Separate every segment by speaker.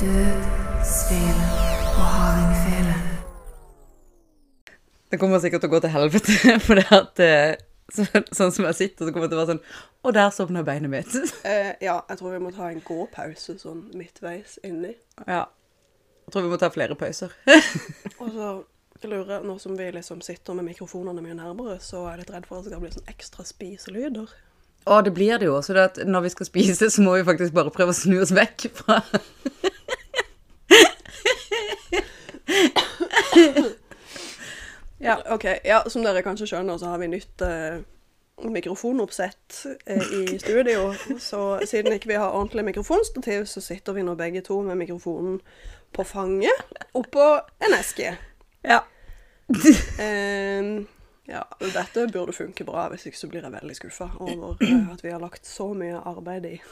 Speaker 1: Død, svele og hardingfele.
Speaker 2: Det kommer sikkert til å gå til helvete, for det at eh, så, sånn som jeg sitter, så kommer det til å være sånn Og der sovna beinet mitt.
Speaker 3: Eh, ja, jeg tror vi må ta en gåpause sånn midtveis inni.
Speaker 2: Ja. Jeg tror vi må ta flere pauser.
Speaker 3: Og så lurer jeg, nå som vi liksom sitter med mikrofonene mye nærmere, så er jeg litt redd for at det skal bli sånn ekstra spiselyder.
Speaker 2: Å, det blir det jo. Så det at når vi skal spise, så må vi faktisk bare prøve å snu oss vekk fra Ja.
Speaker 3: Ok, ja, som dere kanskje skjønner, så har vi nytt eh, mikrofonoppsett eh, i studio. Så siden ikke vi har ordentlig mikrofonstativ, så sitter vi nå begge to med mikrofonen på fanget oppå en eske.
Speaker 2: Ja.
Speaker 3: Eh, ja, dette burde funke bra, hvis ikke så blir jeg veldig skuffa over eh, at vi har lagt så mye arbeid i.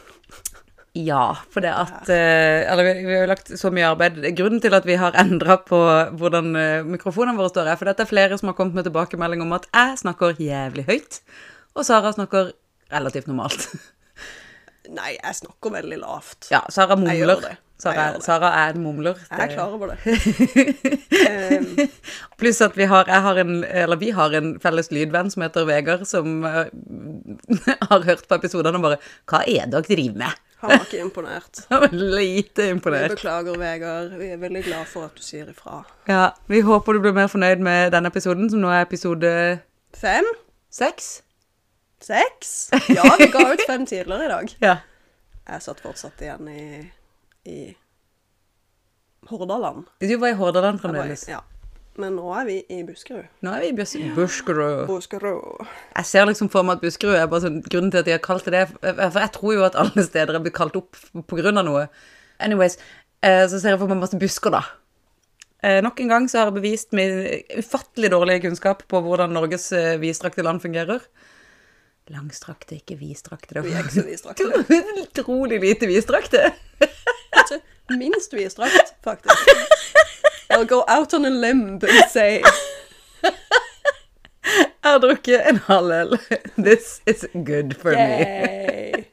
Speaker 2: Ja, for det at eh, Eller vi, vi har jo lagt så mye arbeid. Grunnen til at vi har endra på hvordan eh, mikrofonene våre står, er fordi det er flere som har kommet med tilbakemelding om at jeg snakker jævlig høyt, og Sara snakker relativt normalt.
Speaker 3: Nei, jeg snakker veldig lavt.
Speaker 2: Ja, Sara
Speaker 3: Jeg
Speaker 2: mumler.
Speaker 3: gjør det. Jeg
Speaker 2: Sara,
Speaker 3: gjør det.
Speaker 2: Sara er en mumler.
Speaker 3: Jeg er
Speaker 2: Det-
Speaker 3: klar over det. Ehm,
Speaker 2: Pluss at vi har, jeg har en, eller vi har en felles lydvenn som heter Vegard, som eh, har hørt på episodene og bare Hva er det dere driver med?
Speaker 3: han var ikke imponert.
Speaker 2: Han var Lite
Speaker 3: Vi
Speaker 2: imponert.
Speaker 3: beklager, Vegard. Vi er veldig glad for at du sier ifra.
Speaker 2: Ja, Vi håper du blir mer fornøyd med denne episoden, som nå er episode
Speaker 3: Fem?
Speaker 2: Sex?
Speaker 3: Seks? Ja, vi ga ut fem tidligere i dag.
Speaker 2: Ja.
Speaker 3: Jeg satt fortsatt igjen i, i Hordaland.
Speaker 2: Du var i Hordaland
Speaker 3: Jeg var i-
Speaker 2: fremdeles.
Speaker 3: Ja. Men nå er vi i Buskerud.
Speaker 2: Nå er vi i Bjøs- Buskerud.
Speaker 3: Buskerud.
Speaker 2: Jeg ser liksom for meg at Buskerud er bare sånn grunnen til at de har kalt det det. For jeg tror jo at alle steder er blitt kalt opp på grunn av noe. Anyways, eh, så ser jeg for meg masse busker, da. Eh, Nok en gang så har jeg bevist min ufattelig dårlige kunnskap på hvordan Norges eh, vidstrakte land fungerer. Langstrakte, ikke vidstrakte.
Speaker 3: Vi
Speaker 2: Det
Speaker 3: er
Speaker 2: var
Speaker 3: ikke så vidstrakte.
Speaker 2: utrolig lite vidstrakte.
Speaker 3: Kanskje minst vidstrakt, faktisk. I'll go out on a limb and say
Speaker 2: Jeg har drukket en halv øl. This is good for me.
Speaker 3: Yay!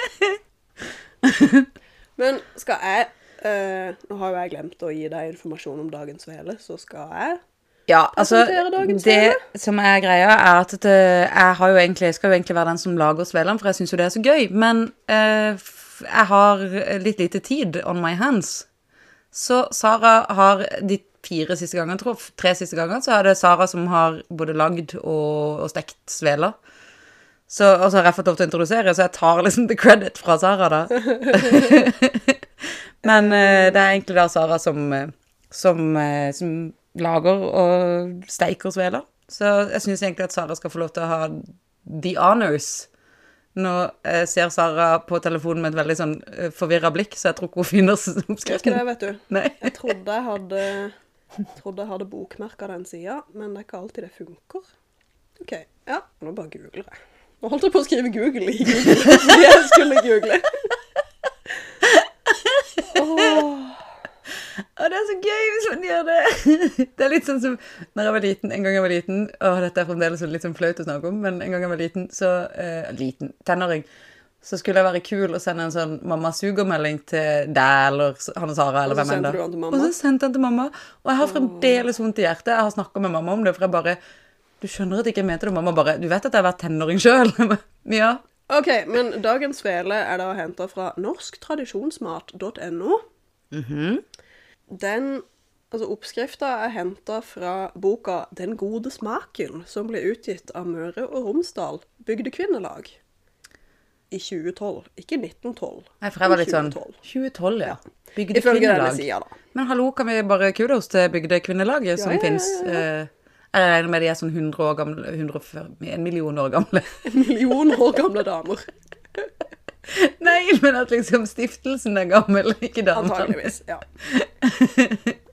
Speaker 3: Men skal jeg eh, Nå har jo jeg glemt å gi deg informasjon om dagens svele, så skal jeg
Speaker 2: Ja, altså,
Speaker 3: Presentere dagens
Speaker 2: det
Speaker 3: svele.
Speaker 2: som er greia, er at det, jeg, har jo egentlig, jeg skal jo egentlig være den som lager svelene, for jeg syns jo det er så gøy. Men eh, f- jeg har litt lite tid on my hands. Så Sara har de fire siste gangene, tror jeg, tre siste gangene, så er det Sara som har både lagd og, og stekt sveler. Så, og så har jeg fått lov til å introdusere, så jeg tar liksom the credit fra Sara, da. Men eh, det er egentlig da Sara som, eh, som, eh, som lager og steiker sveler. Så jeg syns egentlig at Sara skal få lov til å ha the honors. Nå eh, ser Sara på telefonen med et veldig sånn forvirra blikk, så jeg tror ikke hun finner s-
Speaker 3: Gjør ikke
Speaker 2: oppskriften.
Speaker 3: det, vet du.
Speaker 2: Nei.
Speaker 3: Jeg trodde jeg hadde trodde jeg hadde bokmerka den sida, men det er ikke alltid det funker. OK. Ja, nå bare googler jeg. Nå holdt jeg på å skrive Google i Google. fordi Jeg skulle google.
Speaker 2: Å, det er så gøy hvis man gjør det! Det er litt sånn som når jeg var liten, en gang jeg var liten Å, dette er fremdeles litt sånn flaut å snakke om, men en gang jeg var liten, så eh, Liten tenåring. Så skulle jeg være kul og sende en sånn mamma suger-melding til deg eller s- han og Sara. eller
Speaker 3: Og så
Speaker 2: hvem enn
Speaker 3: sendte
Speaker 2: da.
Speaker 3: du den til mamma?
Speaker 2: Og så sendte jeg den til mamma. Og jeg har fremdeles vondt i hjertet. Jeg har snakka med mamma om det, for jeg bare Du skjønner at jeg ikke mente det. Og Mamma bare Du vet at jeg har vært tenåring sjøl? ja.
Speaker 3: OK, men dagens svele er da henta fra norsktradisjonsmat.no.
Speaker 2: Mhm.
Speaker 3: Den Altså, oppskrifta er henta fra boka 'Den gode smaken', som ble utgitt av Møre og Romsdal Bygdekvinnelag i 2012. Ikke 1912.
Speaker 2: Nei, for jeg var
Speaker 3: i
Speaker 2: litt sånn
Speaker 3: 2012.
Speaker 2: 2012, ja.
Speaker 3: Ifølge denne
Speaker 2: Bygdekvinnelag.
Speaker 3: sida, da.
Speaker 2: Men hallo, kan vi bare kudos til Bygdekvinnelaget som
Speaker 3: ja, ja, ja.
Speaker 2: finnes? eh, jeg regner med de er sånn 100 år gamle 140, En million år gamle.
Speaker 3: En million år gamle damer,
Speaker 2: Nei, men at liksom stiftelsen er gammel, ikke damene.
Speaker 3: antageligvis. Ja.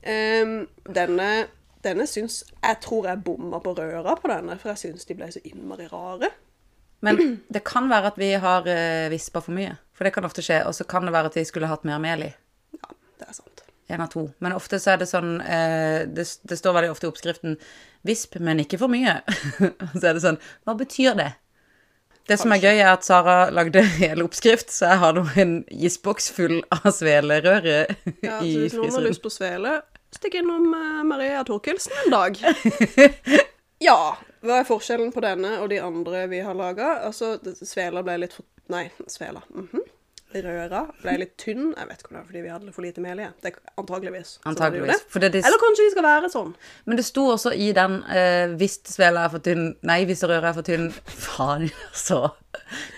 Speaker 3: Em, denne denne syns Jeg tror jeg bomma på røra på denne, for jeg syns de ble så innmari rare.
Speaker 2: Men det kan være at vi har uh, vispa for mye. For det kan ofte skje. Og så kan det være at vi skulle hatt mer mel i.
Speaker 3: Ja, det er sant.
Speaker 2: En av to. Men ofte så er det sånn eh, det, det står veldig ofte i oppskriften 'visp, men ikke for mye'. Og så er det sånn Hva betyr det? Det som er gøy, er at Sara lagde hel oppskrift, så jeg har nå en isboks full av svelerøre
Speaker 3: Ja, så
Speaker 2: i
Speaker 3: hvis noen har
Speaker 2: fryseren.
Speaker 3: lyst på svele, stikk innom eh, Maria Torkelsen en dag. ja. Hva er forskjellen på denne og de andre vi har laga? Altså, det- svela ble litt for Nei, svela. mhm. Røra ble litt tynn. Jeg vet ikke om det er fordi vi hadde for lite mel i. Det er antageligvis. Så var det jo
Speaker 2: Antageligvis.
Speaker 3: det.
Speaker 2: For det, det,
Speaker 3: Eller kanskje de skal være sånn.
Speaker 2: men det sto også i den eh, 'hvis svela er for tynn', nei, 'hvis røret er for tynn', faen altså.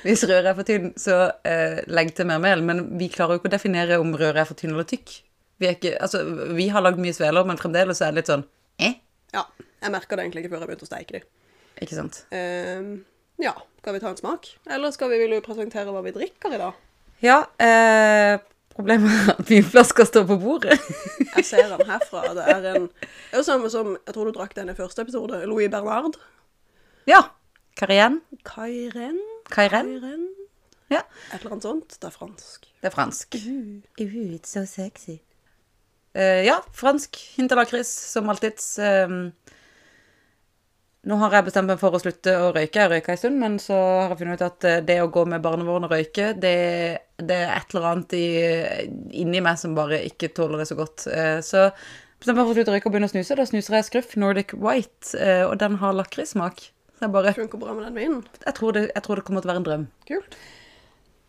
Speaker 2: Hvis røret er for tynn, så eh, legg til mer mel. Men vi klarer jo ikke å definere om røret er for tynn eller tykk. Vi, er ikke, altså, vi har lagd mye sveler, men fremdeles er det litt sånn eh?
Speaker 3: Ja. Jeg merka det egentlig ikke før jeg begynte å steike de.
Speaker 2: Ikke sant?
Speaker 3: Ehm, ja. Skal vi ta en smak? Eller skal vi vil du presentere hva vi drikker i dag?
Speaker 2: Ja, eh, problemet er at vinflasker står på bordet.
Speaker 3: Jeg ser den herfra. Det er en Det er jo samme som Jeg tror du drakk den i første episode. Louis Bernard.
Speaker 2: ja. Cayenne.
Speaker 3: Kairen?
Speaker 2: Cayenne.
Speaker 3: Kairen?
Speaker 2: Ja.
Speaker 3: Et eller annet sånt. Det er fransk.
Speaker 2: Det er fransk. Uh, it's so sexy. Eh, ja, fransk. Hint av lakris, som alltid. Ehm, nå har jeg bestemt meg for å slutte å røyke. Jeg røyka en stund, men så har jeg funnet ut at eh, det å gå med barnevogn og røyke, det, det er et eller annet i, inni meg som bare ikke tåler det så godt. Eh, så bestemte meg for å slutte å røyke og begynne å snuse. Da snuser jeg Scruff Nordic White, eh, og den har lakrissmak. Så jeg bare
Speaker 3: Funker bra med den vinen.
Speaker 2: jeg tror, det, jeg tror det kommer til å være en drøm.
Speaker 3: Kult.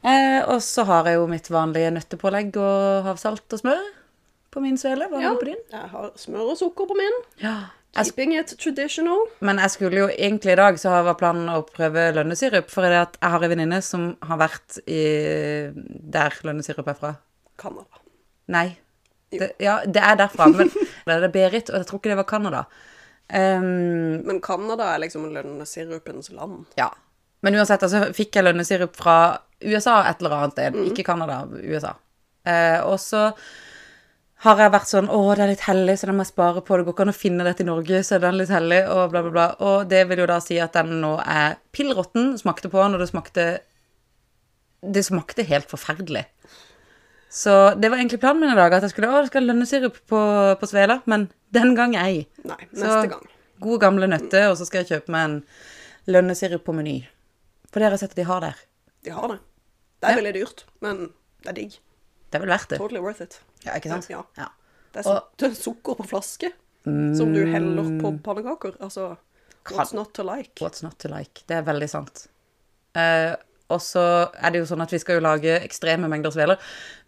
Speaker 2: Eh, og så har jeg jo mitt vanlige nøttepålegg og havsalt og smør på min svele. Hva har du på din?
Speaker 3: Jeg har smør og sukker på min.
Speaker 2: Ja. Jeg,
Speaker 3: Keeping it traditional.
Speaker 2: sk- men jeg skulle jo egentlig i dag så var planen å prøve lønnesirup, for det at jeg har en venninne som har vært i der lønnesirup er fra.
Speaker 3: Canada.
Speaker 2: Nei. Det, ja, det er derfra, men det er Berit, og jeg tror ikke det var Canada. Ehm,
Speaker 3: Men Canada er liksom lønnesirupens land.
Speaker 2: ja. Men uansett, altså fikk jeg lønnesirup fra USA et eller annet sted. Ikke Canada, USA. Eh, og så har jeg vært sånn Å, det er litt hellig, så den må jeg spare på. Det går ikke an å finne dette i Norge, så den er litt hellig, og bla, bla, bla. Og det vil jo da si at den nå er pillråtten. Smakte på den, og det smakte Det smakte helt forferdelig. Så det var egentlig planen min i dag, at jeg skulle Å, det skal lønnesirup på, på svela. Men den gang ei.
Speaker 3: Nei,
Speaker 2: Så
Speaker 3: neste gang.
Speaker 2: gode gamle nøtter, og så skal jeg kjøpe meg en lønnesirup på Meny. For det har jeg sett at de har der.
Speaker 3: De har det. Det er veldig dyrt, men det er digg.
Speaker 2: Det er vel verdt det.
Speaker 3: Totally worth it.
Speaker 2: Ja, ikke sant?
Speaker 3: Ja.
Speaker 2: Ja.
Speaker 3: Det er, su det er sukker på flaske som du heller på pannekaker. Altså, what's not to like?
Speaker 2: What's not to like? Det er veldig sant. Eh, og så er det jo sånn at vi skal jo lage ekstreme mengder sveler.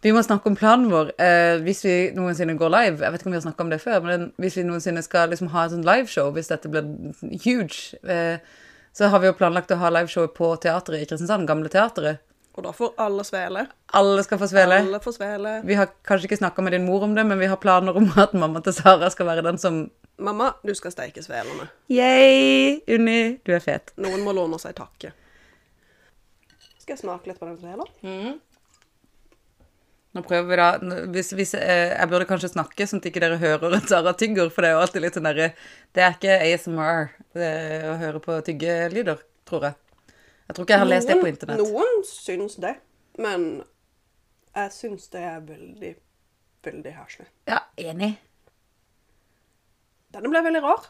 Speaker 2: Vi må snakke om planen vår. Eh, hvis vi noensinne går live, jeg vet ikke om vi har snakket om det før, men hvis vi noensinne skal liksom ha et sånt liveshow, hvis dette blir huge, eh, så har vi jo planlagt å ha liveshowet på teateret i Kristiansand, gamle teateret.
Speaker 3: Og da får alle svele.
Speaker 2: Alle skal få svele.
Speaker 3: Alle får svele.
Speaker 2: Vi har kanskje ikke snakka med din mor om det, men vi har planer om at mamma til Sara skal være den som
Speaker 3: Mamma, du skal steike svelene.
Speaker 2: Yay, Unni, du er fet.
Speaker 3: Noen må låne seg takke. Skal jeg smake litt på den svela?
Speaker 2: Nå prøver vi da nå- hvis, hvis, eh, Jeg burde kanskje snakke sånn at ikke dere hører at Sara tygger, for det er jo alltid litt sånn derre Det er ikke ASMR det, er å høre på tyggelyder, tror jeg. Jeg tror ikke jeg har lest det på internett.
Speaker 3: Noen syns det, men jeg syns det er veldig, veldig herselig.
Speaker 2: Ja, enig.
Speaker 3: Denne ble veldig rar.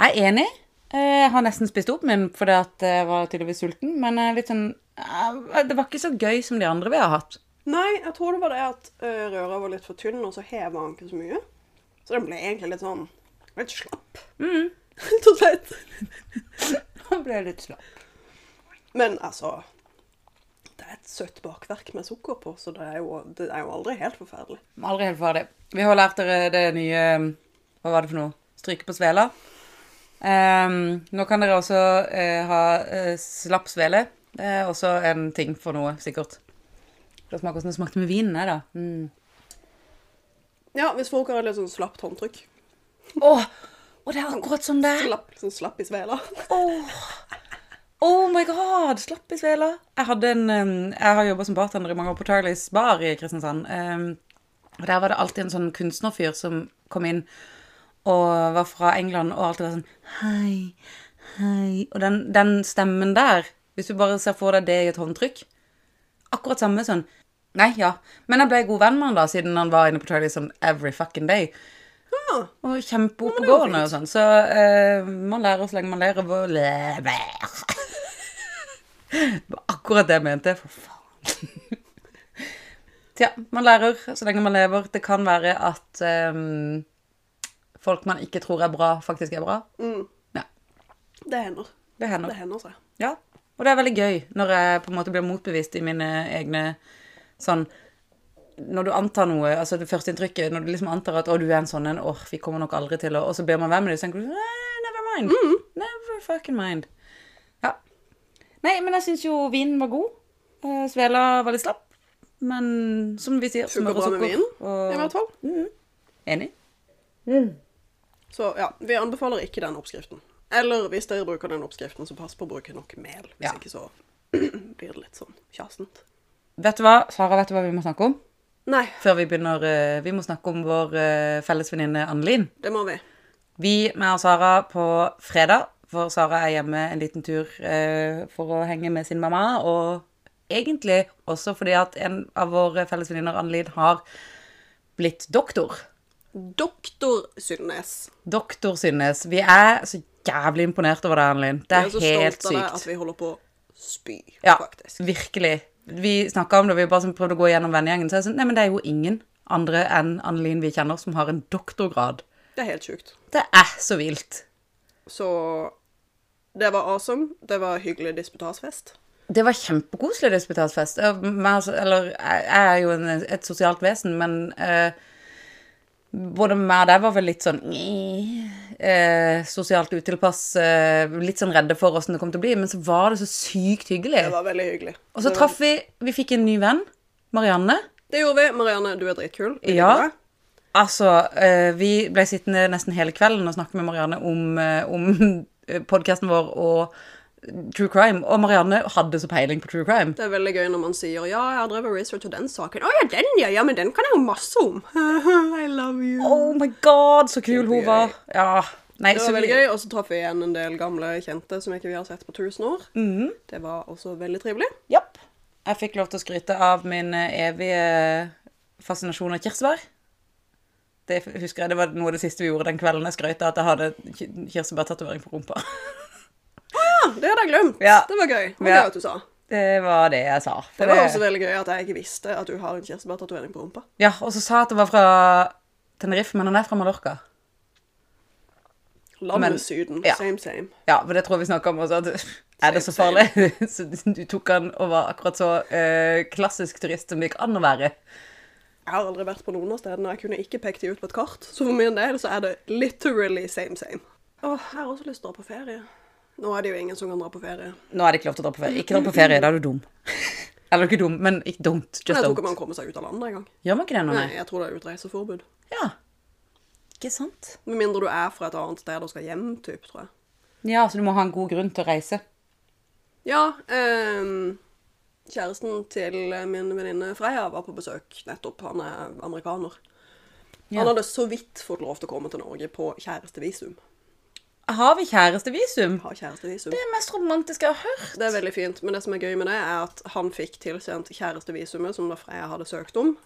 Speaker 2: Jeg er enig. Eh, Jeg har nesten spist opp min fordi at jeg var tydeligvis sulten, men eh, litt sånn eh, Det var ikke så gøy som de andre vi har hatt.
Speaker 3: Nei, jeg tror det var det at eh, røra var litt for tynn, og så heva han ikke så mye. Så den ble egentlig litt sånn litt slapp.
Speaker 2: Mm.
Speaker 3: Rett og slett.
Speaker 2: Han ble litt slapp.
Speaker 3: Men altså Det er et søtt bakverk med sukker på, så det er jo, det er jo aldri helt forferdelig.
Speaker 2: Aldri helt ferdig. Vi har lært dere det nye Hva var det for noe? Stryke på svela. Ehm, nå kan dere også eh, ha eh, slapp svele. Det er også en ting for noe, sikkert. Skal smake hvordan det smakte med vinen, jeg, da. Mm.
Speaker 3: Ja, hvis folk har et litt sånn slapt håndtrykk.
Speaker 2: Åh, Åh, det er akkurat sånn det er!
Speaker 3: Slapp, sånn slapp i svela.
Speaker 2: Åh. Oh my god! Slapp i svela. Jeg, hadde en, um, jeg har jobba som bartender i mange år på Charlies bar i Kristiansand. Um, og der var det alltid en sånn kunstnerfyr som kom inn og var fra England og alltid var sånn Hei, hei. Og den, den stemmen der, hvis du bare ser for deg det i et håndtrykk Akkurat samme sånn Nei, ja. Men jeg ble god venn med han da, siden han var inne på Charlies sånn every fucking day.
Speaker 3: Ja,
Speaker 2: Og kjempeoppegående og sånn. Så eh, man lærer så lenge man ler. og hvor- Det var akkurat det jeg mente. For faen. Tja, man lærer så lenge man lever. Det kan være at ehm, folk man ikke tror er bra, faktisk er bra. Ja,
Speaker 3: Det hender.
Speaker 2: det hender.
Speaker 3: Det hender seg.
Speaker 2: Ja, og det er veldig gøy når jeg på en måte blir motbevist i mine egne sånn når du antar noe, altså det første inntrykket, når du liksom antar at 'Å, du er en sånn en. Åh, vi kommer nok aldri til å Og så blir man venn med dem, så tenker du «Nei, 'Never mind'. Never fucking mind. Ja. Nei, men jeg syns jo vinen var god. Eh, Svela var litt slapp. Men som vi sier,
Speaker 3: Funker
Speaker 2: smør og
Speaker 3: bra med
Speaker 2: sukker.
Speaker 3: vin,
Speaker 2: og-
Speaker 3: i hvert fall.
Speaker 2: Enig.
Speaker 3: Så ja, vi anbefaler ikke den oppskriften. Eller hvis dere bruker den oppskriften, så pass på å bruke nok mel.
Speaker 2: Ja.
Speaker 3: Hvis ikke så blir det litt sånn kjasent.
Speaker 2: Vet du hva, Sara, vet du hva vi må snakke om?
Speaker 3: Nei,
Speaker 2: Før vi begynner eh, Vi må snakke om vår eh, felles venninne Annelin.
Speaker 3: det må vi.
Speaker 2: Vi med og Sara på fredag, for Sara er hjemme en liten tur eh, for å henge med sin mamma. Og egentlig også fordi at en av våre felles venninner, Annelid, har blitt doktor.
Speaker 3: Doktor Sylnes.
Speaker 2: Doktor Synnes. Vi er så jævlig imponert over deg, Annelid. Det
Speaker 3: Jeg
Speaker 2: er,
Speaker 3: er så
Speaker 2: helt
Speaker 3: stolt av deg
Speaker 2: sykt.
Speaker 3: at vi holder på å spy,
Speaker 2: Ja,
Speaker 3: faktisk.
Speaker 2: virkelig. Vi snakka om det, vi bare sånn prøvde å gå gjennom vennegjengen. Så jeg sånn, nei, men det er jo ingen andre enn Annelin vi kjenner, som har en doktorgrad.
Speaker 3: Det er helt sjukt.
Speaker 2: Det er så vilt.
Speaker 3: Så det var awesome. Det var hyggelig disputasfest.
Speaker 2: Det var kjempekoselig disputasfest. Jeg, meg- altså, eller, jeg jeg er jo en, et sosialt vesen, men eh, både meg og deg var vel litt sånn eh, Sosialt utilpass. eh, litt sånn redde for åssen det kom til å bli. Men så var det så sykt hyggelig.
Speaker 3: Det var veldig hyggelig.
Speaker 2: Og så traff vi Vi fikk en ny venn. Marianne.
Speaker 3: Det gjorde vi. Marianne, du er dritkul. Vi
Speaker 2: Ja.
Speaker 3: liker deg.
Speaker 2: Altså, eh, vi ble sittende nesten hele kvelden og snakke med Marianne om, eh, om podkasten vår og true crime. Og Marianne hadde så peiling på true crime.
Speaker 3: Det er veldig gøy når man sier 'ja, jeg har drevet research på den saken'. 'Å ja, den, ja. Ja, men den kan jeg jo masse om'. I love you.
Speaker 2: Oh my god, så kul hun
Speaker 3: Kjempegøy.
Speaker 2: var. Ja. Nei,
Speaker 3: Det
Speaker 2: så
Speaker 3: var
Speaker 2: vi-
Speaker 3: veldig gøy, og så traff vi igjen en del gamle kjente som ikke vi har sett på tusen år.
Speaker 2: Mhm.
Speaker 3: Det var også veldig trivelig.
Speaker 2: Japp. Jeg fikk lov til å skryte av min eh, evige fascinasjon av kirsebær. Det f- husker jeg, det var noe av det siste vi gjorde den kvelden jeg skrøt av at jeg hadde ki- kirsebærtatovering på rumpa.
Speaker 3: Ja, Ah, det hadde jeg glemt.
Speaker 2: Ja.
Speaker 3: Det var gøy. Det var
Speaker 2: Ja.
Speaker 3: gøy at du sa.
Speaker 2: Det var det jeg sa. For
Speaker 3: Det var også veldig gøy at jeg ikke visste at du har en kirsebærtatovering på rumpa.
Speaker 2: Ja, og så sa jeg at det var fra Tenerife, men han er fra Mallorca.
Speaker 3: Landet
Speaker 2: Men-
Speaker 3: Syden.
Speaker 2: ja.
Speaker 3: Same, same.
Speaker 2: Ja, for det tror jeg vi snakka om også. At, er det så
Speaker 3: Same,
Speaker 2: farlig? Så du tok han og var akkurat så eh, klassisk turist som det gikk an å være.
Speaker 3: Jeg har aldri vært på noen av stedene, og jeg kunne ikke pekt de ut på et kart. Så for min del så er det literally same, same. Åh, jeg har også lyst til å dra på ferie. Nå er det jo ingen som kan dra på ferie.
Speaker 2: Nå er det ikke lov til å dra på ferie. Ikke dra på ferie, da er du dum. Eller ikke dum, men ikke dumt.
Speaker 3: Men
Speaker 2: Just
Speaker 3: jeg tror ikke man
Speaker 2: don't.
Speaker 3: kommer seg ut av landet engang.
Speaker 2: Gjør man ikke det nå,
Speaker 3: Nei,
Speaker 2: nei?
Speaker 3: jeg tror det er utreiseforbud.
Speaker 2: Ja. Ikke sant?
Speaker 3: Med mindre du er fra et annet sted og skal hjem, typ, tror jeg.
Speaker 2: Ja, så du må ha en god grunn til å reise.
Speaker 3: Ja, ehm, kjæresten til min venninne Freya var på besøk nettopp. Han er amerikaner.
Speaker 2: Ja.
Speaker 3: Han hadde så vidt fått lov til å komme til Norge på kjærestevisum.
Speaker 2: Har vi kjærestevisum?
Speaker 3: Ha kjærestevisum.
Speaker 2: Det er det mest romantiske jeg har hørt.
Speaker 3: Det er veldig fint, men det som er gøy med det, er at han fikk tilsendt kjærestevisumet som da Freya hadde søkt om.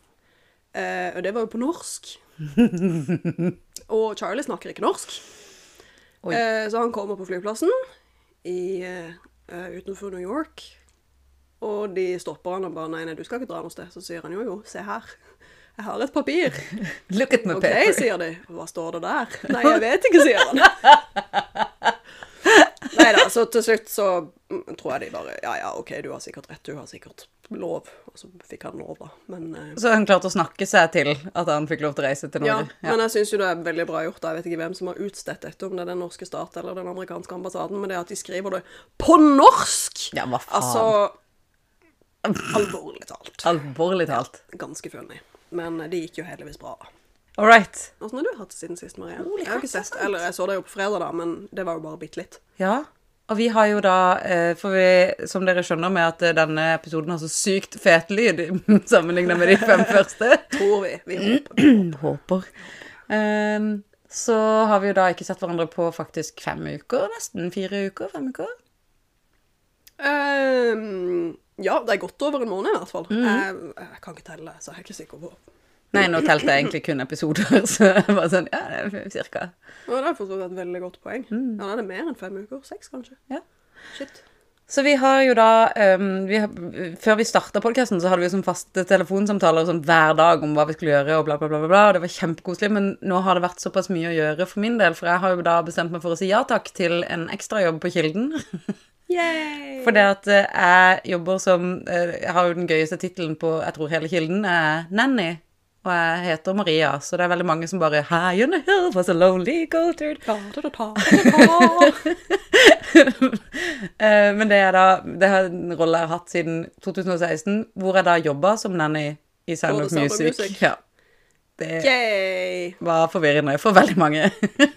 Speaker 3: Eh, og det var jo på norsk. og Charlie snakker ikke norsk.
Speaker 2: Oi.
Speaker 3: Eh, så han kommer på flyplassen i, eh, eh, utenfor New York. Og de stopper han og bare 'Nei, nei, du skal ikke dra noe sted.' Så sier han 'Jo, jo, se her. Jeg har et papir.'
Speaker 2: Look at my
Speaker 3: 'OK',
Speaker 2: paper.
Speaker 3: sier de. 'Hva står det der?' 'Nei, jeg vet ikke', sier han. Nei da, så til slutt så mm, tror jeg de bare Ja ja, OK, du har sikkert rett, du har sikkert lov. Og så fikk han lov, da. Men eh,
Speaker 2: Så han klarte å snakke seg til at han fikk lov til å reise til
Speaker 3: ja,
Speaker 2: Norge. Ja.
Speaker 3: men jeg syns jo det er veldig bra gjort. da. Jeg vet ikke hvem som har utstedt dette, om det er den norske stat eller den amerikanske ambassaden, men det at de skriver det på norsk!
Speaker 2: Ja, hva faen?
Speaker 3: Altså Alvorlig talt.
Speaker 2: Alvorlig talt.
Speaker 3: Ganske følelig. Men eh, det gikk jo heldigvis bra. da.
Speaker 2: All right.
Speaker 3: Åssen har du hatt det siden sist, Maria?
Speaker 2: Holy
Speaker 3: Jeg har
Speaker 2: crap,
Speaker 3: ikke
Speaker 2: det er
Speaker 3: sett, eller jeg så deg jo på fredag, da, men det var jo bare bitte litt.
Speaker 2: Ja. Og vi har jo da, eh, for vi, som dere skjønner med at eh, denne episoden har så sykt fet lyd sammenlignet med de fem første,
Speaker 3: Tror vi. Vi håper.
Speaker 2: håper, Ehm, så har vi jo da ikke sett hverandre på faktisk fem uker, nesten fire uker, fem uker.
Speaker 3: Ehm, ja, det er godt over en måned i hvert fall. jeg, jeg kan ikke telle, så jeg er ikke sikker på.
Speaker 2: Nei, nå telte jeg egentlig kun episoder, så jeg var sånn, ja, det er cirka.
Speaker 3: Men det er for så vidt et veldig godt poeng. Mhm. Ja, da er det mer enn fem uker. Seks, kanskje.
Speaker 2: Ja.
Speaker 3: Shit.
Speaker 2: Så vi har jo da ehm, vi har, Før vi starta podkasten, så hadde vi jo sånn faste telefonsamtaler sånn hver dag om hva vi skulle gjøre, og bla, bla, bla. bla, bla. Og det var kjempekoselig, men nå har det vært såpass mye å gjøre for min del, for jeg har jo da bestemt meg for å si ja takk til en ekstrajobb på Kilden.
Speaker 3: Yay!
Speaker 2: Fordi at eh, jeg jobber som eh, Jeg har jo den gøyeste tittelen på jeg tror hele Kilden, er Nanny. Og jeg heter Maria, så det er veldig mange som bare Hi on a hill was a lonely goater
Speaker 3: Da, da, da, da, da.
Speaker 2: Eh, Men det er da det er en rolle jeg har hatt siden 2016, hvor jeg da jobba som nanny i Sound
Speaker 3: Både
Speaker 2: of
Speaker 3: Sound of
Speaker 2: Music.
Speaker 3: Music.
Speaker 2: Ja. Det
Speaker 3: Yay!
Speaker 2: var forvirrende for veldig mange.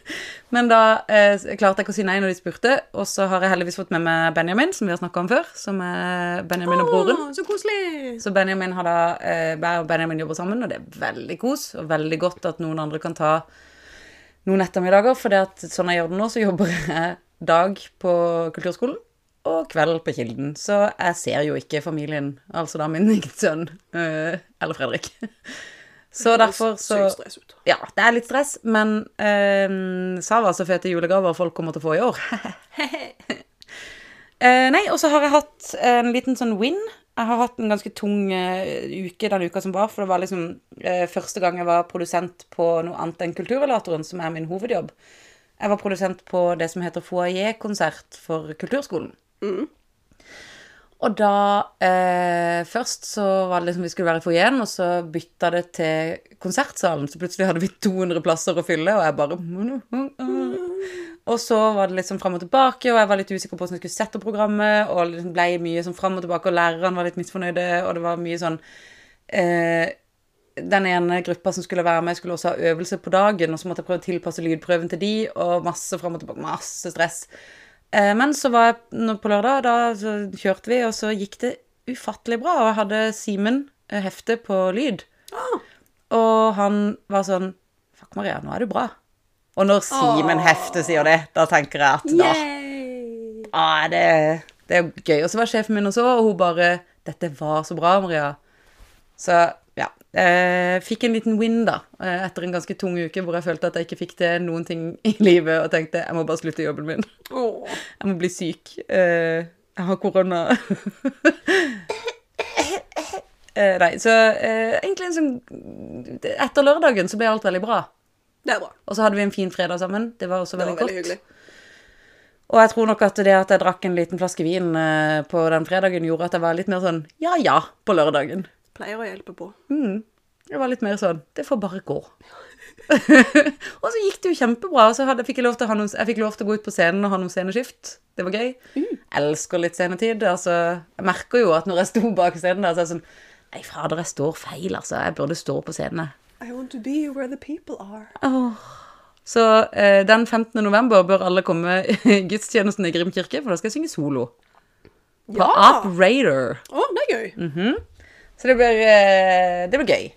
Speaker 2: Men da eh, klarte jeg ikke å si nei når de spurte, og så har jeg heldigvis fått med meg Benjamin, som vi har snakka om før, som er
Speaker 3: Ah.
Speaker 2: Benjamin og broren.
Speaker 3: Å, så koselig!
Speaker 2: Så Benjamin har da, eh, jeg og Benjamin jobber sammen, og det er veldig kos, og veldig godt at noen andre kan ta noen ettermiddager, for det at sånn jeg gjør det nå, så jobber jeg dag på kulturskolen, og kveld på kilden, så jeg ser jo ikke familien, altså da min egen sønn, eh, eller Fredrik. Så derfor så...
Speaker 3: Sykt stress ut.
Speaker 2: Ja, det er litt stress, men eh, Sava så fete julegaver folk kommer til å få i år. Eh, nei, og så har jeg hatt en liten sånn win. Jeg har hatt en ganske tung eh, uke den uka som var, for det var liksom eh, første gang jeg var produsent på noe annet enn Kulturrelatoren, som er min hovedjobb. Jeg var produsent på det som heter foajé-konsert for kulturskolen. Og da eh, Først så var det liksom vi skulle være i foajeen, og så bytta det til konsertsalen. Så plutselig hadde vi 200 plasser å fylle, og jeg mm, bare og så var det litt sånn fram og tilbake, og jeg var litt usikker på hvordan jeg skulle sette opp programmet, og liksom ble mye sånn fram og tilbake, og læreren var litt misfornøyde, og det var mye sånn eh, Den ene gruppa som skulle være med, skulle også ha øvelse på dagen, og så måtte jeg prøve å tilpasse lydprøven til de, og masse fram og tilbake, masse stress. Eh, men så var jeg nå på lørdag, da så kjørte vi, og så gikk det ufattelig bra, og jeg hadde Simen eh, Hefte på lyd. Og han var sånn Fuck, Maria, nå er du bra. Og når Simen Hefte sier det, da tenker jeg at da
Speaker 3: Yay!
Speaker 2: ah, det, det er jo gøy. Og så var sjefen min også, og hun bare 'Dette var så bra, Maria'. Så ja. Eh, fikk en liten win, da, eh, etter en ganske tung uke hvor jeg følte at jeg ikke fikk til noen ting i livet, og tenkte 'Jeg må bare slutte i jobben min'.
Speaker 3: Åh.
Speaker 2: Jeg må bli syk. Eh, jeg har korona. Eh, nei, så eh, egentlig en sånn Etter lørdagen så ble alt veldig bra.
Speaker 3: Det er bra.
Speaker 2: Og så hadde vi en fin fredag sammen. Det var også
Speaker 3: Det
Speaker 2: veldig,
Speaker 3: var
Speaker 2: godt.
Speaker 3: veldig hyggelig.
Speaker 2: Og jeg tror nok at det at jeg drakk en liten flaske vin eh, på den fredagen, gjorde at jeg var litt mer sånn ja ja på lørdagen.
Speaker 3: Pleier å hjelpe på.
Speaker 2: Det var litt mer sånn Det får bare gå. og så gikk det jo kjempebra. Og så hadde, fikk jeg, lov til å ha noen, jeg fikk lov til å gå ut på scenen og ha noen sceneskift. Det var gøy. Elsker litt scenetid. Altså, jeg merker jo at når jeg sto bak scenen der, så er jeg sånn Nei, fader, jeg står feil, altså. Jeg burde stå på scenen. jeg.
Speaker 3: I want to be where the people are.
Speaker 2: Så eh, den 15. november bør alle komme i gudstjenesten i Grim kirke, for da skal jeg synge solo. På Mm.
Speaker 3: Ja!
Speaker 2: Operator.
Speaker 3: Å, det er gøy.
Speaker 2: Så det blir, eh, det blir gøy.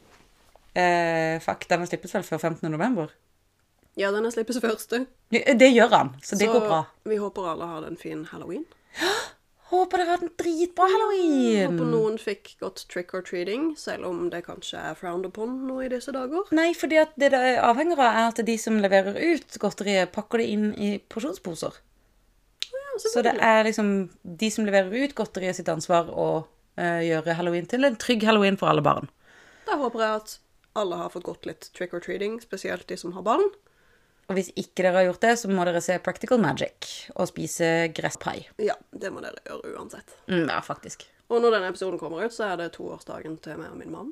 Speaker 2: Eh, fuck, den slippes vel før 15. november?
Speaker 3: Ja, denne slippes første.
Speaker 2: Ja, eh, Det gjør han, så det
Speaker 3: så
Speaker 2: går bra.
Speaker 3: vi håper alle har en fin halloween.
Speaker 2: Håper dere har hatt en dritbra halloween.
Speaker 3: Håper noen fikk godt trick-or-treating, selv om det kanskje er frowned upon nå i disse dager.
Speaker 2: Nei, fordi at det det avhenger av, er at de som leverer ut godteriet, pakker det inn i porsjonsposer.
Speaker 3: Ja,
Speaker 2: Så det er liksom de som leverer ut godteriet sitt ansvar å eh, gjøre halloween til en trygg halloween for alle barn.
Speaker 3: Da håper jeg at alle har fått gått litt trick-or-treating, spesielt de som har barn.
Speaker 2: Og hvis ikke dere har gjort det, så må dere se Practical Magic og spise gresspai.
Speaker 3: Ja, det må dere gjøre uansett.
Speaker 2: Mm, ja, faktisk.
Speaker 3: Og når denne episoden kommer ut, så er det toårsdagen til meg og min mann.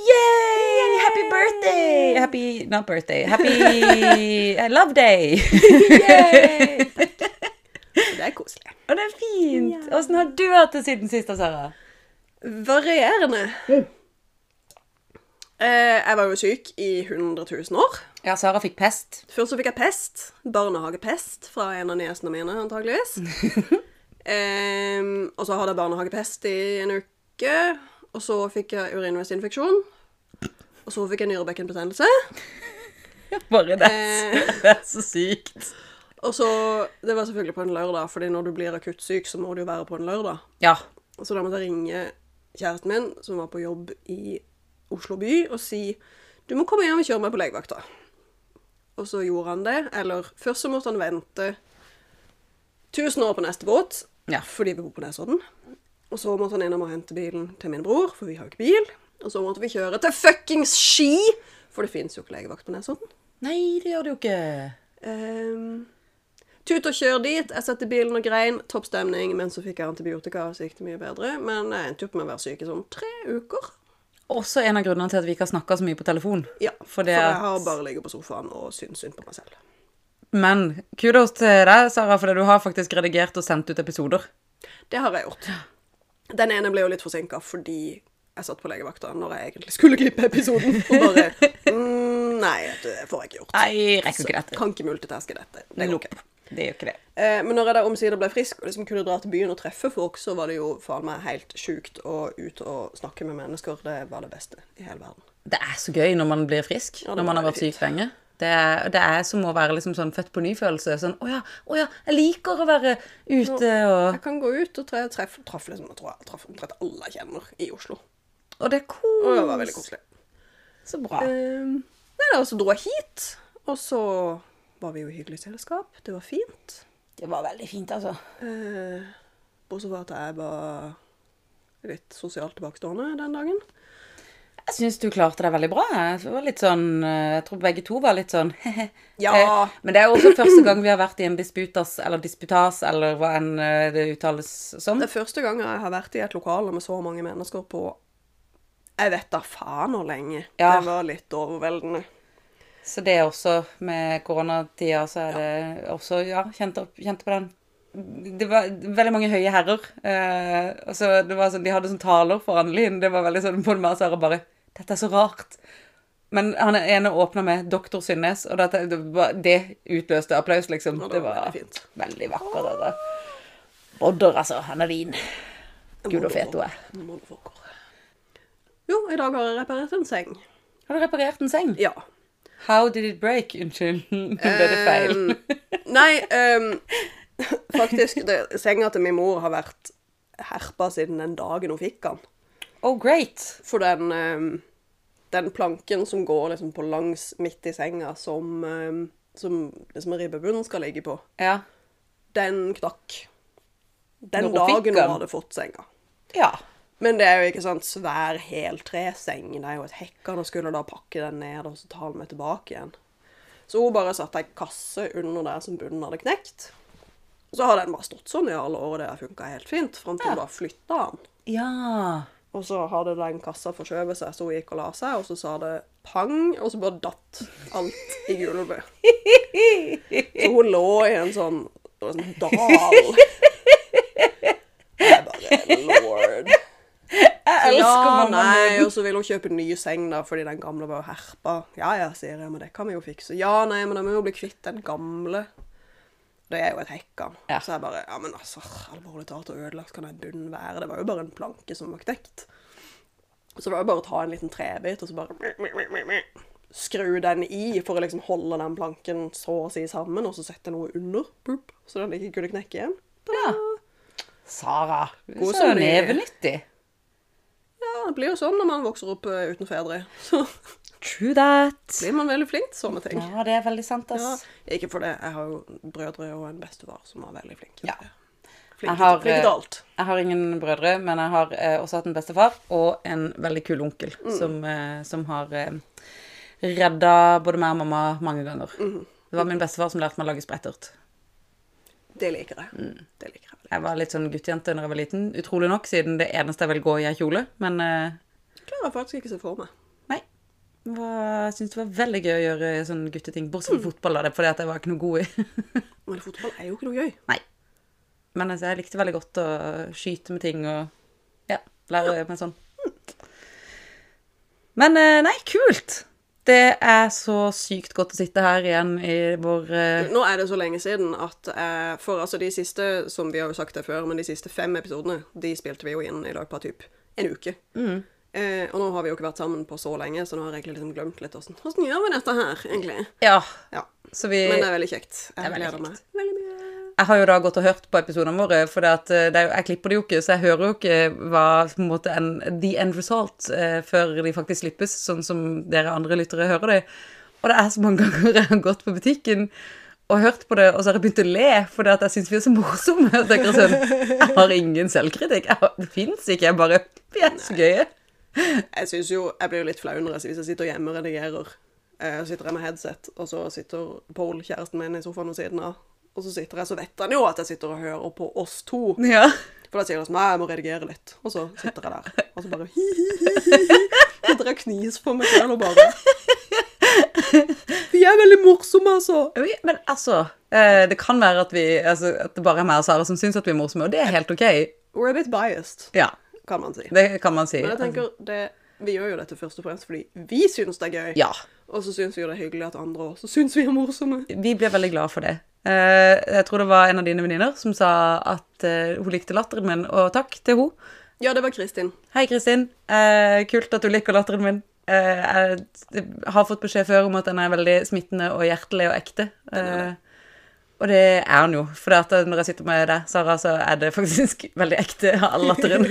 Speaker 2: Yay! Happy birthday! Happy Not birthday. Happy eh, love day!
Speaker 3: Det er koselig.
Speaker 2: Og det er fint! Åssen har du hatt det siden sist, da, Sara?
Speaker 3: Varierende. Eh, jeg var jo syk i 100 000 år.
Speaker 2: Ja, Sara fikk pest.
Speaker 3: Først så fikk jeg pest. Barnehagepest fra en av niesene mine, antageligvis. Em, og så hadde jeg barnehagepest i en uke. Og så fikk jeg urinveisinfeksjon. Og så fikk jeg nyrebekkenbetennelse.
Speaker 2: Bare det.
Speaker 3: Eh.
Speaker 2: Det er så sykt.
Speaker 3: Og så Det var selvfølgelig på en lørdag, fordi når du blir akutt syk, så må du jo være på en lørdag.
Speaker 2: Ja.
Speaker 3: Så da måtte jeg ringe kjæresten min, som var på jobb i Oslo by, og si du må komme hjem og kjøre meg på legevakta. Og så gjorde han det. Eller først så måtte han vente 1000 år på neste båt,
Speaker 2: Ja.
Speaker 3: fordi vi bor på Nesodden. Og så måtte han innom og hente bilen til min bror, for vi har jo ikke bil. Og så måtte vi kjøre til fuckings Ski, for det fins jo ikke legevakt på Nesodden.
Speaker 2: Nei, det gjør det jo ikke.
Speaker 3: Ehm, tut og kjør dit. Jeg satte bilen og grein. Topp stemning. Men så fikk jeg antibiotika, og så gikk det mye bedre. Men jeg endte jo opp med å være syk i sånn tre uker.
Speaker 2: Også en av grunnene til at vi ikke har snakka så mye på telefon.
Speaker 3: Ja, for,
Speaker 2: For det
Speaker 3: jeg
Speaker 2: at-
Speaker 3: har bare ligget på sofaen og syntes synd på meg selv.
Speaker 2: Men kudos til deg, Sara, for du har faktisk redigert og sendt ut episoder.
Speaker 3: Det har jeg gjort. Den ene ble jo litt forsinka fordi jeg satt på legevakta når jeg egentlig skulle klippe episoden. Og bare mm, Nei, det får jeg ikke gjort.
Speaker 2: Nei, rekker ikke dette.
Speaker 3: Kan ikke multitaske dette. Det går ikke.
Speaker 2: Det gjør ikke det.
Speaker 3: Eh, Men når jeg da omsider ble frisk og liksom kunne dra til byen og treffe folk, så var det jo faen meg helt sjukt å ut og snakke med mennesker. Det var det beste i hele verden.
Speaker 2: Det er så gøy når man blir frisk,
Speaker 3: det
Speaker 2: når man
Speaker 3: var
Speaker 2: har vært
Speaker 3: veldig
Speaker 2: syk lenge. Det er, det er som å være liksom sånn født på ny-følelse. Sånn, å ja, å ja, jeg liker å være ute og
Speaker 3: Jeg kan gå ut og tre- treffe traff liksom, jeg tror jeg traff omtrent alle jeg kjenner i Oslo.
Speaker 2: Og det er kos.
Speaker 3: Og det var veldig koselig.
Speaker 2: Så bra.
Speaker 3: Um, nei da, så dro jeg hit, og så var vi jo i hyggelig selskap. Det var fint.
Speaker 2: Det var veldig fint, altså.
Speaker 3: Eh, bortsett fra at jeg var litt sosialt tilbakestående den dagen.
Speaker 2: Jeg syns du klarte deg veldig bra. Jeg var litt sånn, eh, jeg tror begge to var litt sånn he-he.
Speaker 3: Ja.
Speaker 2: Eh, Men det er jo også første gang vi har vært i en disputas, eller disputas, eller hva enn eh, det uttales som.
Speaker 3: Det er første gang jeg har vært i et lokale med så mange mennesker på jeg vet da faen hvor lenge.
Speaker 2: Ja.
Speaker 3: Det var litt overveldende.
Speaker 2: Så det er også med koronatida, så er det også Ja, kjente, opp, kjente på den. Det var veldig mange høye herrer. Eh, og så det var sånn, De hadde sånn taler foran Linn. Det var veldig sånn på meg og Sara bare 'Dette er så rart'. Men han ene åpna med 'Doktor Synnes', og dette, det, var, det utløste applaus, liksom.
Speaker 3: Og
Speaker 2: Det var
Speaker 3: veldig fint.
Speaker 2: veldig vakkert. dette. Odder, altså. Han er din. Gud og fet hun er.
Speaker 3: Monofokker. Jo, i dag har jeg reparert en seng.
Speaker 2: Har du reparert en seng?
Speaker 3: Ja.
Speaker 2: How did it break? Unnskyld, nå ble det feil.
Speaker 3: Nei, ehm, faktisk, det, senga til min mor har vært herpa siden den dagen hun fikk den.
Speaker 2: Oh, great.
Speaker 3: For den, ehm, den planken som går liksom på langs midt i senga, som, ehm, som liksom ribbebunnen skal ligge på,
Speaker 2: Ja.
Speaker 3: den knakk. Den
Speaker 2: Når hun fikk
Speaker 3: dagen
Speaker 2: den?
Speaker 3: hun hadde fått senga.
Speaker 2: ja.
Speaker 3: Men det er jo ikke sånn svær heltreseng. Det er jo et hekkan og skulle da pakke den ned og så ta den med tilbake igjen. Så hun bare satte ei kasse under der som bunnen hadde knekt. Så har den bare stått sånn i alle år, og det har funka helt fint, fram til hun da flytta den.
Speaker 2: Ja.
Speaker 3: Og så hadde den kassa forskjøvet seg, så hun gikk og la seg, og så sa det pang, og så bare datt alt i gulvet. Så hun lå i en sånn, en sånn dal. Jeg bare lord.
Speaker 2: Jeg elsker
Speaker 3: Ja,
Speaker 2: mamma
Speaker 3: nei,
Speaker 2: min.
Speaker 3: og så vil hun kjøpe en ny seng da, fordi den gamle var jo herpa. Ja, ja, sier jeg, men det kan vi jo fikse. Ja, nei, men da må vi jo bli kvitt den gamle. Det er jo et hekkan.
Speaker 2: Ja.
Speaker 3: Så jeg bare, ja, men altså, alvorlig talt og ødelagt kan den bunnen være. Det var jo bare en planke som var knekt. Så det var jo bare å ta en liten trebit, og så bare skru den i for å liksom holde den planken så å si sammen, og så sette noe under, boop, så den ikke kunne knekke igjen.
Speaker 2: Ja. Sara.
Speaker 3: God
Speaker 2: så
Speaker 3: som de-
Speaker 2: nevenyttig.
Speaker 3: Ja, det blir jo sånn når man vokser opp eh, uten fedre. Så
Speaker 2: True that.
Speaker 3: blir man veldig flink til sånne ting.
Speaker 2: Ja, det er veldig sant,
Speaker 3: Ja,
Speaker 2: ass.
Speaker 3: ikke for det. Jeg har jo brødre og en bestefar som er veldig flinke. til
Speaker 2: Ja.
Speaker 3: det.
Speaker 2: Jeg
Speaker 3: Flinke,
Speaker 2: har, eh,
Speaker 3: til- flinke til alt.
Speaker 2: jeg har ingen brødre, men jeg har eh, også hatt en bestefar og en veldig kul onkel som, eh, som har eh, redda både meg og mamma mange ganger. Det var min bestefar som lærte meg å lage sprettert.
Speaker 3: Det liker jeg.
Speaker 2: Mm.
Speaker 3: Det liker jeg veldig.
Speaker 2: Jeg var litt sånn guttjente når jeg var liten, utrolig nok, siden det eneste jeg vil gå i er kjole. Men eh,
Speaker 3: Klarer jeg faktisk ikke se for meg.
Speaker 2: Nei. Det var- Jeg syns det var veldig gøy å gjøre sånne gutteting, bortsett
Speaker 3: Mm.
Speaker 2: fra fotball, da, det er fordi at jeg var ikke noe god i.
Speaker 3: Men fotball er jo ikke noe gøy.
Speaker 2: Nei. Men altså, jeg likte veldig godt å skyte med ting og ja, lære meg sånn. Men eh, nei, kult! Det er så sykt godt å sitte her igjen i vår eh,
Speaker 3: Nå er det så lenge siden at eh, For altså de siste, som vi har jo sagt det før, men de siste fem episodene, de spilte vi jo inn i løpet av typ en uke. Eh, og nå har vi jo ikke vært sammen på så lenge, så nå har jeg egentlig liksom glemt litt åssen Åssen gjør vi dette her, egentlig?
Speaker 2: Ja.
Speaker 3: Ja.
Speaker 2: Så vi
Speaker 3: Men eh, det er veldig kjekt. Jeg
Speaker 2: Eh, Det er veldig
Speaker 3: gleder
Speaker 2: kjekt.
Speaker 3: meg veldig mye.
Speaker 2: Jeg har jo da gått og hørt på episodene våre, for det at, eh, det er, jo- jeg klipper det jo ikke, så jeg hører jo ikke hva på en måte en, the end result eh, før de faktisk slippes, sånn som dere andre lyttere hører det. Og det er så mange ganger jeg har gått på butikken og hørt på det, og så har jeg begynt å le fordi at jeg syns vi er så morsomme. Og tenker jeg sånn, jeg har ingen selvkritikk. Jeg har, det fins ikke. Jeg bare Vi er så gøye.
Speaker 3: Jeg synes jo, jeg blir jo litt flau når jeg- hvis jeg sitter hjemme og redigerer. eh, Så sitter jeg med headset, og så sitter Pål, kjæresten min, i sofaen ved siden av. Og så sitter jeg, så vet han jo at jeg sitter og hører på oss to.
Speaker 2: Ja.
Speaker 3: For da sier han sånn Nei, jeg må redigere litt. Og så sitter jeg der. Og så bare hi, hi, hi, hi, hi. Sitter og kniser på meg selv og bare Vi er veldig morsomme, altså.
Speaker 2: Oi, Men altså eh, Det kan være at, vi, altså, at det bare er meg og Sara som syns at vi er morsomme, og det er helt OK.
Speaker 3: We're a bit biased,
Speaker 2: Ja,
Speaker 3: kan man si.
Speaker 2: det kan man si.
Speaker 3: Men jeg tenker, det, vi gjør jo dette først og fremst fordi vi syns det er gøy.
Speaker 2: Ja.
Speaker 3: Og så syns vi jo det er hyggelig at andre også syns vi er morsomme.
Speaker 2: Vi blir veldig glad for det. Eh, jeg tror det var en av dine venninner som sa at eh, hun likte latteren min, og takk til henne.
Speaker 3: Ja, det var Kristin.
Speaker 2: Hei, Kristin. Eh, kult at du liker latteren min. Eh, jeg har fått beskjed før om at den er veldig smittende og hjertelig og ekte. Eh, og det er den jo. For at når jeg sitter med deg, Sara, så er det faktisk veldig ekte, all latteren.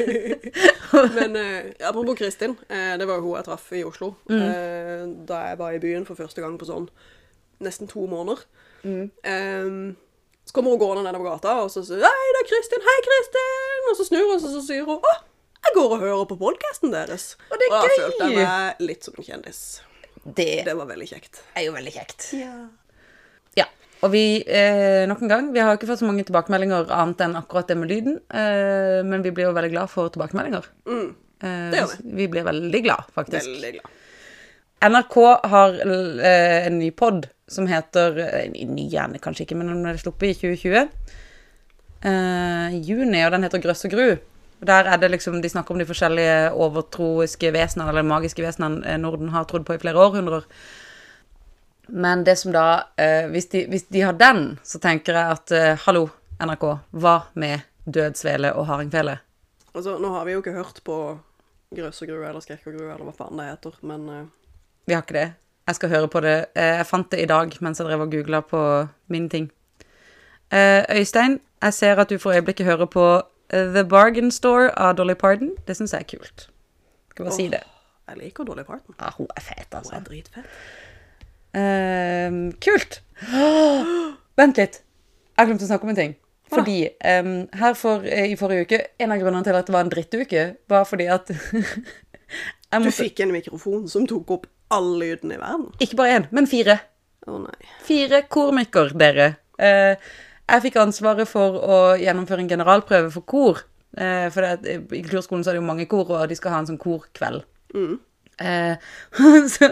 Speaker 3: Men eh, apropos Kristin, eh, det var jo hun jeg traff i Oslo
Speaker 2: Mm.
Speaker 3: eh, da jeg var i byen for første gang på sånn nesten to måneder.
Speaker 2: Mm.
Speaker 3: Eh, så kommer hun gående nedover gata, og så sier hun, Hei, det er Kristin! Hei, Kristin! Og så snur hun, og så sier hun Å, jeg går og hører på podkasten deres.
Speaker 2: Og det er
Speaker 3: da
Speaker 2: gøy!
Speaker 3: følte jeg meg litt som en kjendis.
Speaker 2: Det
Speaker 3: Det var veldig kjekt.
Speaker 2: er jo veldig kjekt. Ja. Og vi, eh, nok en gang, vi har jo ikke fått så mange tilbakemeldinger annet enn akkurat det med lyden, eh, men vi blir jo veldig glad for tilbakemeldinger. Eh,
Speaker 3: Mm. det gjør
Speaker 2: vi. blir veldig glad, faktisk.
Speaker 3: Veldig glad.
Speaker 2: NRK har l- eh, en ny pod som heter eh, Ny gjerne kanskje ikke, men den ble sluppet i 2020. Eh, juni, og den heter Grøss og gru. Der er det liksom, De snakker om de forskjellige overtroiske vesenene, eller magiske vesenene eh, Norden har trodd på i flere århundrer. Men det som da eh, hvis, de, hvis de har den, så tenker jeg at eh, hallo, NRK, hva med dødsvele og hardingfele?
Speaker 3: Altså, nå har vi jo ikke hørt på Grøss og grue eller Skrekk og grue eller hva faen det heter, men eh,
Speaker 2: Vi har ikke det. Jeg skal høre på det. Eh, Jeg fant det i dag mens jeg drev og googla på mine ting. Eh, Øystein, jeg ser at du for øyeblikket hører på eh, The Bargain Store av Dolly Parton. Det syns jeg er kult. Skal bare si
Speaker 3: åh,
Speaker 2: det.
Speaker 3: Jeg liker Dolly Parton.
Speaker 2: Ja, hun er fet,
Speaker 3: Hun
Speaker 2: altså.
Speaker 3: er dritfett.
Speaker 2: Ehm, kult! Åh, Vent litt. Jeg glemte å snakke om en ting. Fordi ehm, her for, eh, i forrige uke En av grunnene til at det var en drittuke, var fordi at jeg
Speaker 3: Du
Speaker 2: måtte,
Speaker 3: fikk en mikrofon som tok opp all lyden i verden.
Speaker 2: Ikke bare én, men fire.
Speaker 3: Å nei.
Speaker 2: Fire kormikere, dere. Eh, jeg fikk ansvaret for å gjennomføre en generalprøve for kor. Eh, for det, at I kulturskolen så er det jo mange kor, og de skal ha en sånn korkveld.
Speaker 3: Mm.
Speaker 2: Eh, så,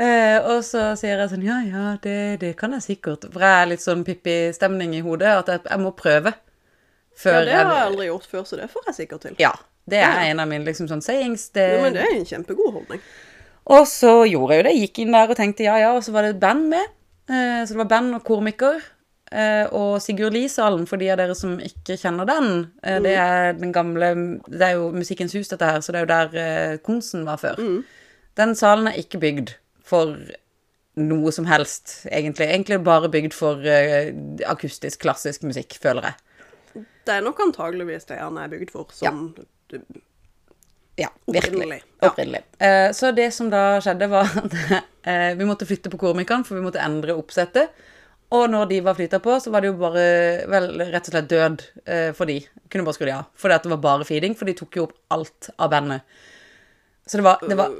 Speaker 2: eh, og så sier jeg sånn Ja, ja, det, det kan jeg sikkert. For jeg er litt sånn Pippi-stemning i hodet. At jeg, jeg må prøve.
Speaker 3: Ja,
Speaker 2: Før
Speaker 3: det har jeg
Speaker 2: jeg
Speaker 3: aldri gjort før, så det får jeg sikkert til.
Speaker 2: Ja. Det er en av mine liksom sånn sayings. Det,
Speaker 3: Jo, men det er en kjempegod holdning.
Speaker 2: Og så gjorde jeg jo det. Gikk inn der og tenkte ja, ja. Og så var det et band med. Eh, Så det var band og kormiker. Eh, Og Sigurd Lie-salen, for de av dere som ikke kjenner den, eh, det er den gamle Det er jo Musikkens hus, dette her, så det er jo der eh, Konsen var før. Den salen er ikke bygd for noe som helst, egentlig. Egentlig bare bygd for eh, akustisk, klassisk musikk, føler jeg.
Speaker 3: Det er nok antageligvis det han er bygd for, som du-
Speaker 2: Ja, virkelig.
Speaker 3: Opprinnelig. Ja.
Speaker 2: Opprinnelig. Eh, så det som da skjedde, var at eh, vi måtte flytte på komikeren, for vi måtte endre oppsettet. Og når de var flytta på, så var det jo bare vel, rett og slett død eh, for de. Kunne bare skru de av. Fordi at det var bare feeding, for de tok jo opp alt av bandet. Så det var, det var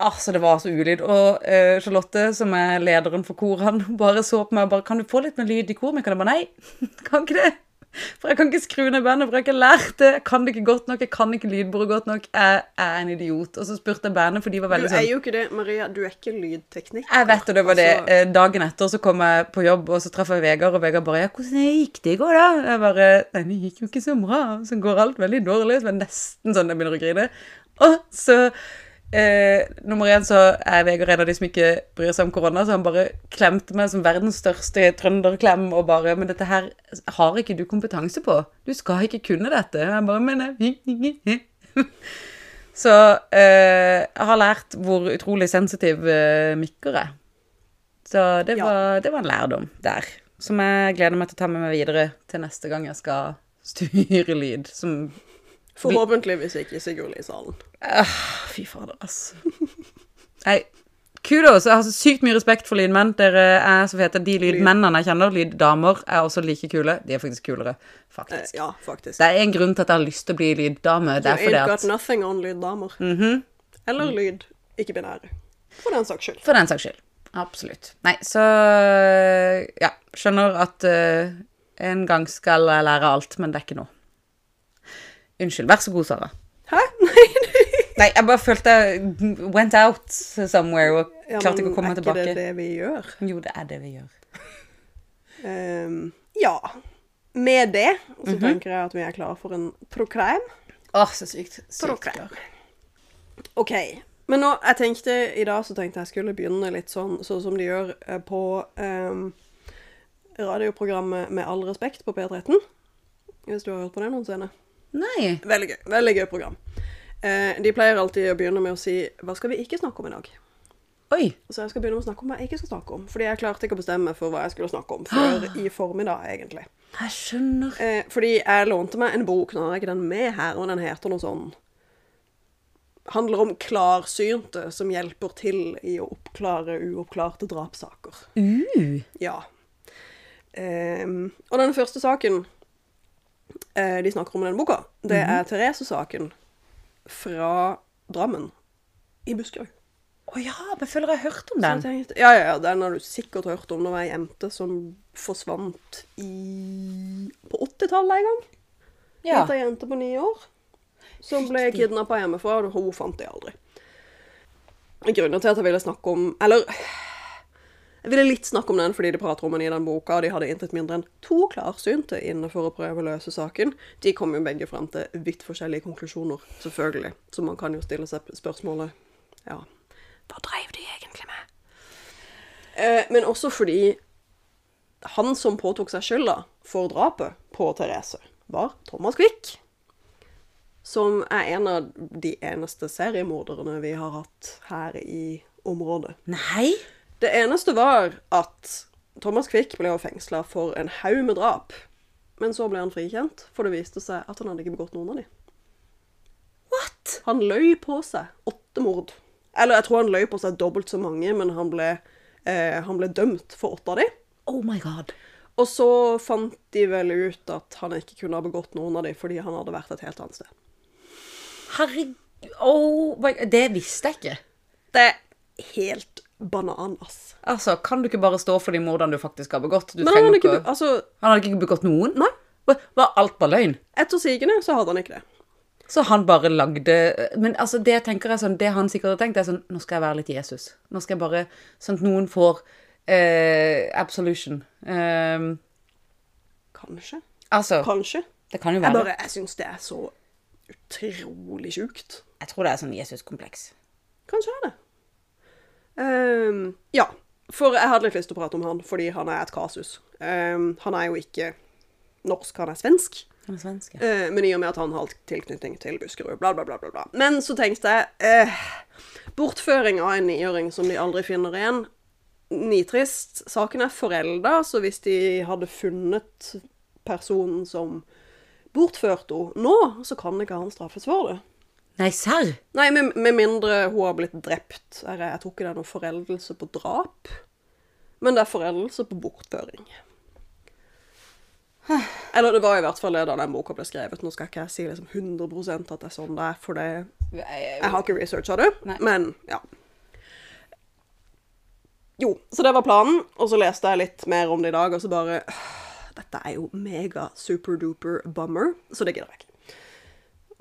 Speaker 2: Altså, det var så ulyd. Og eh, Charlotte, som er lederen for korene, bare så på meg og bare 'Kan du få litt mer lyd i kor?' Men jeg bare 'Nei, kan ikke det'. For jeg kan ikke skru ned bandet, for jeg har ikke lært det. Jeg kan det ikke godt nok, jeg kan ikke lydbordet godt nok. Jeg er en idiot. Og så spurte jeg bandet, for de var
Speaker 3: Du
Speaker 2: veldig
Speaker 3: er
Speaker 2: sånn
Speaker 3: jo ikke det, Maria. Du er ikke lydteknikk.
Speaker 2: jeg vet, og det var det.
Speaker 3: Altså,
Speaker 2: Eh, Dagen etter så kom jeg på jobb, og så traff jeg Vegard, og Vegard bare 'Ja, hvordan gikk det i går, da?' Jeg bare 'Nei, det gikk jo ikke så bra. Så går alt veldig dårlig.' Så det er nesten sånn jeg begynner å grine. Og så eh, Nummer én så er Vegard en av de som ikke bryr seg om korona, så han bare klemte meg som verdens største trønderklem og bare 'Men dette her har ikke du kompetanse på. Du skal ikke kunne dette.' Jeg bare 'Men jeg så eh, jeg har lært hvor utrolig sensitiv eh, mikker er. Så det,
Speaker 3: Ja.
Speaker 2: var, det var en lærdom der, som jeg gleder meg til å ta med meg videre til neste gang jeg skal styre lyd. Som ah,
Speaker 3: Forhåpentligvis ikke Sigurd Lie-salen.
Speaker 2: Fy fader, altså. Nei, kudos. Jeg har så sykt mye respekt for lydmenn. Dere er så fete. De lydmennene jeg kjenner, lyddamer, er også like kule. De er faktisk kulere,
Speaker 3: Eh,
Speaker 2: faktisk.
Speaker 3: ja, faktisk.
Speaker 2: Det er en grunn til at jeg har lyst til å bli lyddame. Det
Speaker 3: You
Speaker 2: er fordi
Speaker 3: ain't got
Speaker 2: at Mhm.
Speaker 3: nothing on lyddamer. Eller lyd ikke-binære. For den saks skyld.
Speaker 2: For den saks skyld. Absolutt. Nei, så Ja. Skjønner at eh, en gang skal jeg lære alt, men det er ikke nå. Unnskyld. Vær så god, Sara.
Speaker 3: Hæ? Nei,
Speaker 2: Nei, jeg bare følte jeg went out somewhere og
Speaker 3: Ja,
Speaker 2: klarte ikke
Speaker 3: men
Speaker 2: å komme
Speaker 3: er
Speaker 2: tilbake.
Speaker 3: ikke det det vi gjør?
Speaker 2: Jo, det er det vi gjør.
Speaker 3: Ehm, ja. Med det så
Speaker 2: Mhm.
Speaker 3: tenker jeg at vi er klare for en prokrem.
Speaker 2: Åh, så sykt. Sykt
Speaker 3: Prokrem.
Speaker 2: klar.
Speaker 3: OK. Men nå, jeg tenkte i dag så tenkte jeg skulle begynne litt sånn, sånn som de gjør eh, på ehm, radioprogrammet Med all respekt på P13. Hvis du har hørt på det noensinne.
Speaker 2: Nei.
Speaker 3: Veldig gøy. Veldig gøy program. Eh, de pleier alltid å begynne med å si 'Hva skal vi ikke snakke om i dag?'
Speaker 2: Oi.
Speaker 3: Så jeg skal begynne med å snakke om hva jeg ikke skal snakke om. Fordi jeg klarte ikke å bestemme for hva jeg skulle snakke om før i formiddag, egentlig.
Speaker 2: Jeg skjønner.
Speaker 3: Eh, fordi jeg lånte meg en bok, nå har jeg ikke den med her, men den heter noe sånn Handler om klarsynte som hjelper til i å oppklare uoppklarte drapssaker.
Speaker 2: Uh.
Speaker 3: Ja. Ehm, og den første saken eh, de snakker om i denne boka, det er Therese-saken fra Drammen i Buskerud.
Speaker 2: Å ja, men jeg føler jeg har hørt om
Speaker 3: Så jeg
Speaker 2: den.
Speaker 3: tenkte, ja, ja, ja, den har du sikkert hørt om når ei jente som forsvant i På 80-tallet en gang.
Speaker 2: Ja.
Speaker 3: Hette ei jente på ni år som ble kidnappa hjemmefra, og hun fant det aldri. Grunnen til at jeg ville snakke om Eller jeg ville litt snakke om den fordi de prater om den i den boka, og de hadde intet mindre enn to klarsynte inne for å prøve å løse saken. De kom jo begge fram til vidt forskjellige konklusjoner, selvfølgelig. Så man kan jo stille seg spørsmålet Ja, hva dreiv de egentlig med? Eh, men også fordi han som påtok seg skylda for drapet på Therese, var Thomas Quick. Som er en av de eneste seriemorderne vi har hatt her i området.
Speaker 2: Nei.
Speaker 3: Det eneste var at Thomas Quick ble fengsla for en haug med drap. Men så ble han frikjent, for det viste seg at han hadde ikke begått noen av dem.
Speaker 2: What?
Speaker 3: Han løy på seg åtte mord. Eller jeg tror han løy på seg dobbelt så mange, men han ble, eh, han ble dømt for åtte av dem.
Speaker 2: Oh my god.
Speaker 3: Og så fant de vel ut at han ikke kunne ha begått noen av dem fordi han hadde vært et helt annet sted.
Speaker 2: Herregud. Oh my god. Det visste jeg ikke.
Speaker 3: Det er helt banan, ass.
Speaker 2: Altså, kan du ikke bare stå for de mordene du faktisk har begått? Du
Speaker 3: Men han
Speaker 2: trenger
Speaker 3: hadde ikke,
Speaker 2: ikke...
Speaker 3: be- altså,
Speaker 2: Han hadde ikke begått noen? Nei. Var alt bare løgn?
Speaker 3: etter sigende så hadde han ikke det.
Speaker 2: Så han bare lagde Men altså, det jeg tenker er sånn, det han sikkert har tenkt, er sånn Nå skal jeg være litt Jesus. Nå skal jeg bare Sånn at noen får eh, absolution. Eh,
Speaker 3: Kanskje.
Speaker 2: altså
Speaker 3: Kanskje.
Speaker 2: Det kan jo
Speaker 3: Jeg
Speaker 2: være
Speaker 3: bare, jeg syns det er så utrolig sjukt.
Speaker 2: Jeg tror det er sånn Jesus-kompleks.
Speaker 3: Kanskje er det. Ehm, ja, for jeg hadde litt lyst til å prate om han, fordi han er et kasus. Ehm, han er jo ikke norsk, han er svensk.
Speaker 2: Han er svensk. ja.
Speaker 3: Eh, men i og med at han har tilknytning til Buskerud, bla, bla, bla. bla, bla. Men så tenkte jeg eh, Bortføring av en niåring som de aldri finner igjen. Nitrist. Saken er forelda, så hvis de hadde funnet personen som bortførte henne nå, så kan ikke han straffes for det.
Speaker 2: Nei, serr?
Speaker 3: Nei, med, med mindre hun har blitt drept. Jeg, jeg tror ikke det er noen foreldelse på drap, men det er foreldelse på bortføring. Eller det var i hvert fall det da den boka ble skrevet. Nå skal ikke jeg si liksom 100 at det er sånn det er, for det,
Speaker 2: Eh,
Speaker 3: jeg har ikke researcha det.
Speaker 2: Nei.
Speaker 3: Men ja. Jo, så det var planen, og så leste jeg litt mer om det i dag, og så bare Dette er jo mega super-duper bummer, så det gidder jeg ikke.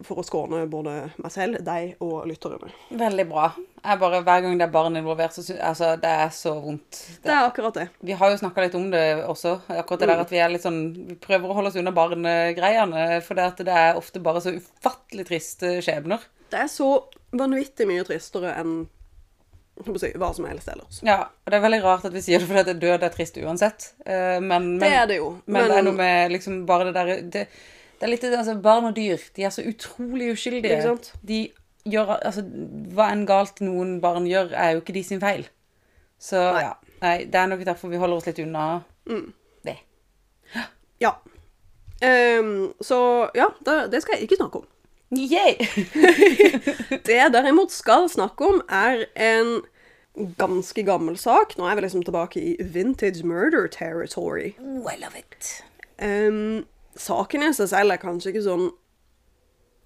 Speaker 3: For å skåne både meg selv, deg og lytterne.
Speaker 2: Veldig bra. Jeg bare, hver gang det er barn involvert, så syns altså, det er så vondt.
Speaker 3: Det er akkurat det.
Speaker 2: Vi har jo snakka litt om det også, akkurat det
Speaker 3: Mm.
Speaker 2: der at vi er litt sånn Vi prøver å holde oss unna barnegreiene, for det, at det er ofte bare så ufattelig triste skjebner.
Speaker 3: Det er så vanvittig mye tristere enn jeg holdt på å si, hva som helst ellers.
Speaker 2: Ja, og det er veldig rart at vi sier det fordi at død er trist uansett. Eh, Men, men,
Speaker 3: Det er det jo.
Speaker 2: Men, det er noe
Speaker 3: med
Speaker 2: med liksom bare det der Det, det er litt det, altså, barn og dyr. De er så utrolig uskyldige.
Speaker 3: Ikke sant?
Speaker 2: De gjør Altså, hva enn galt noen barn gjør, er jo ikke de sin feil. Så
Speaker 3: Nei. Mm.
Speaker 2: ja. Nei, det er nok derfor vi holder oss litt unna det.
Speaker 3: Ja. Ehm, så ja, det, det skal jeg ikke snakke om.
Speaker 2: Yay!
Speaker 3: Det jeg derimot skal snakke om, er en ganske gammel sak. Nå er vi liksom tilbake i vintage murder territory.
Speaker 2: Oh, I love it.
Speaker 3: Ehm, saken i seg selv er kanskje ikke sånn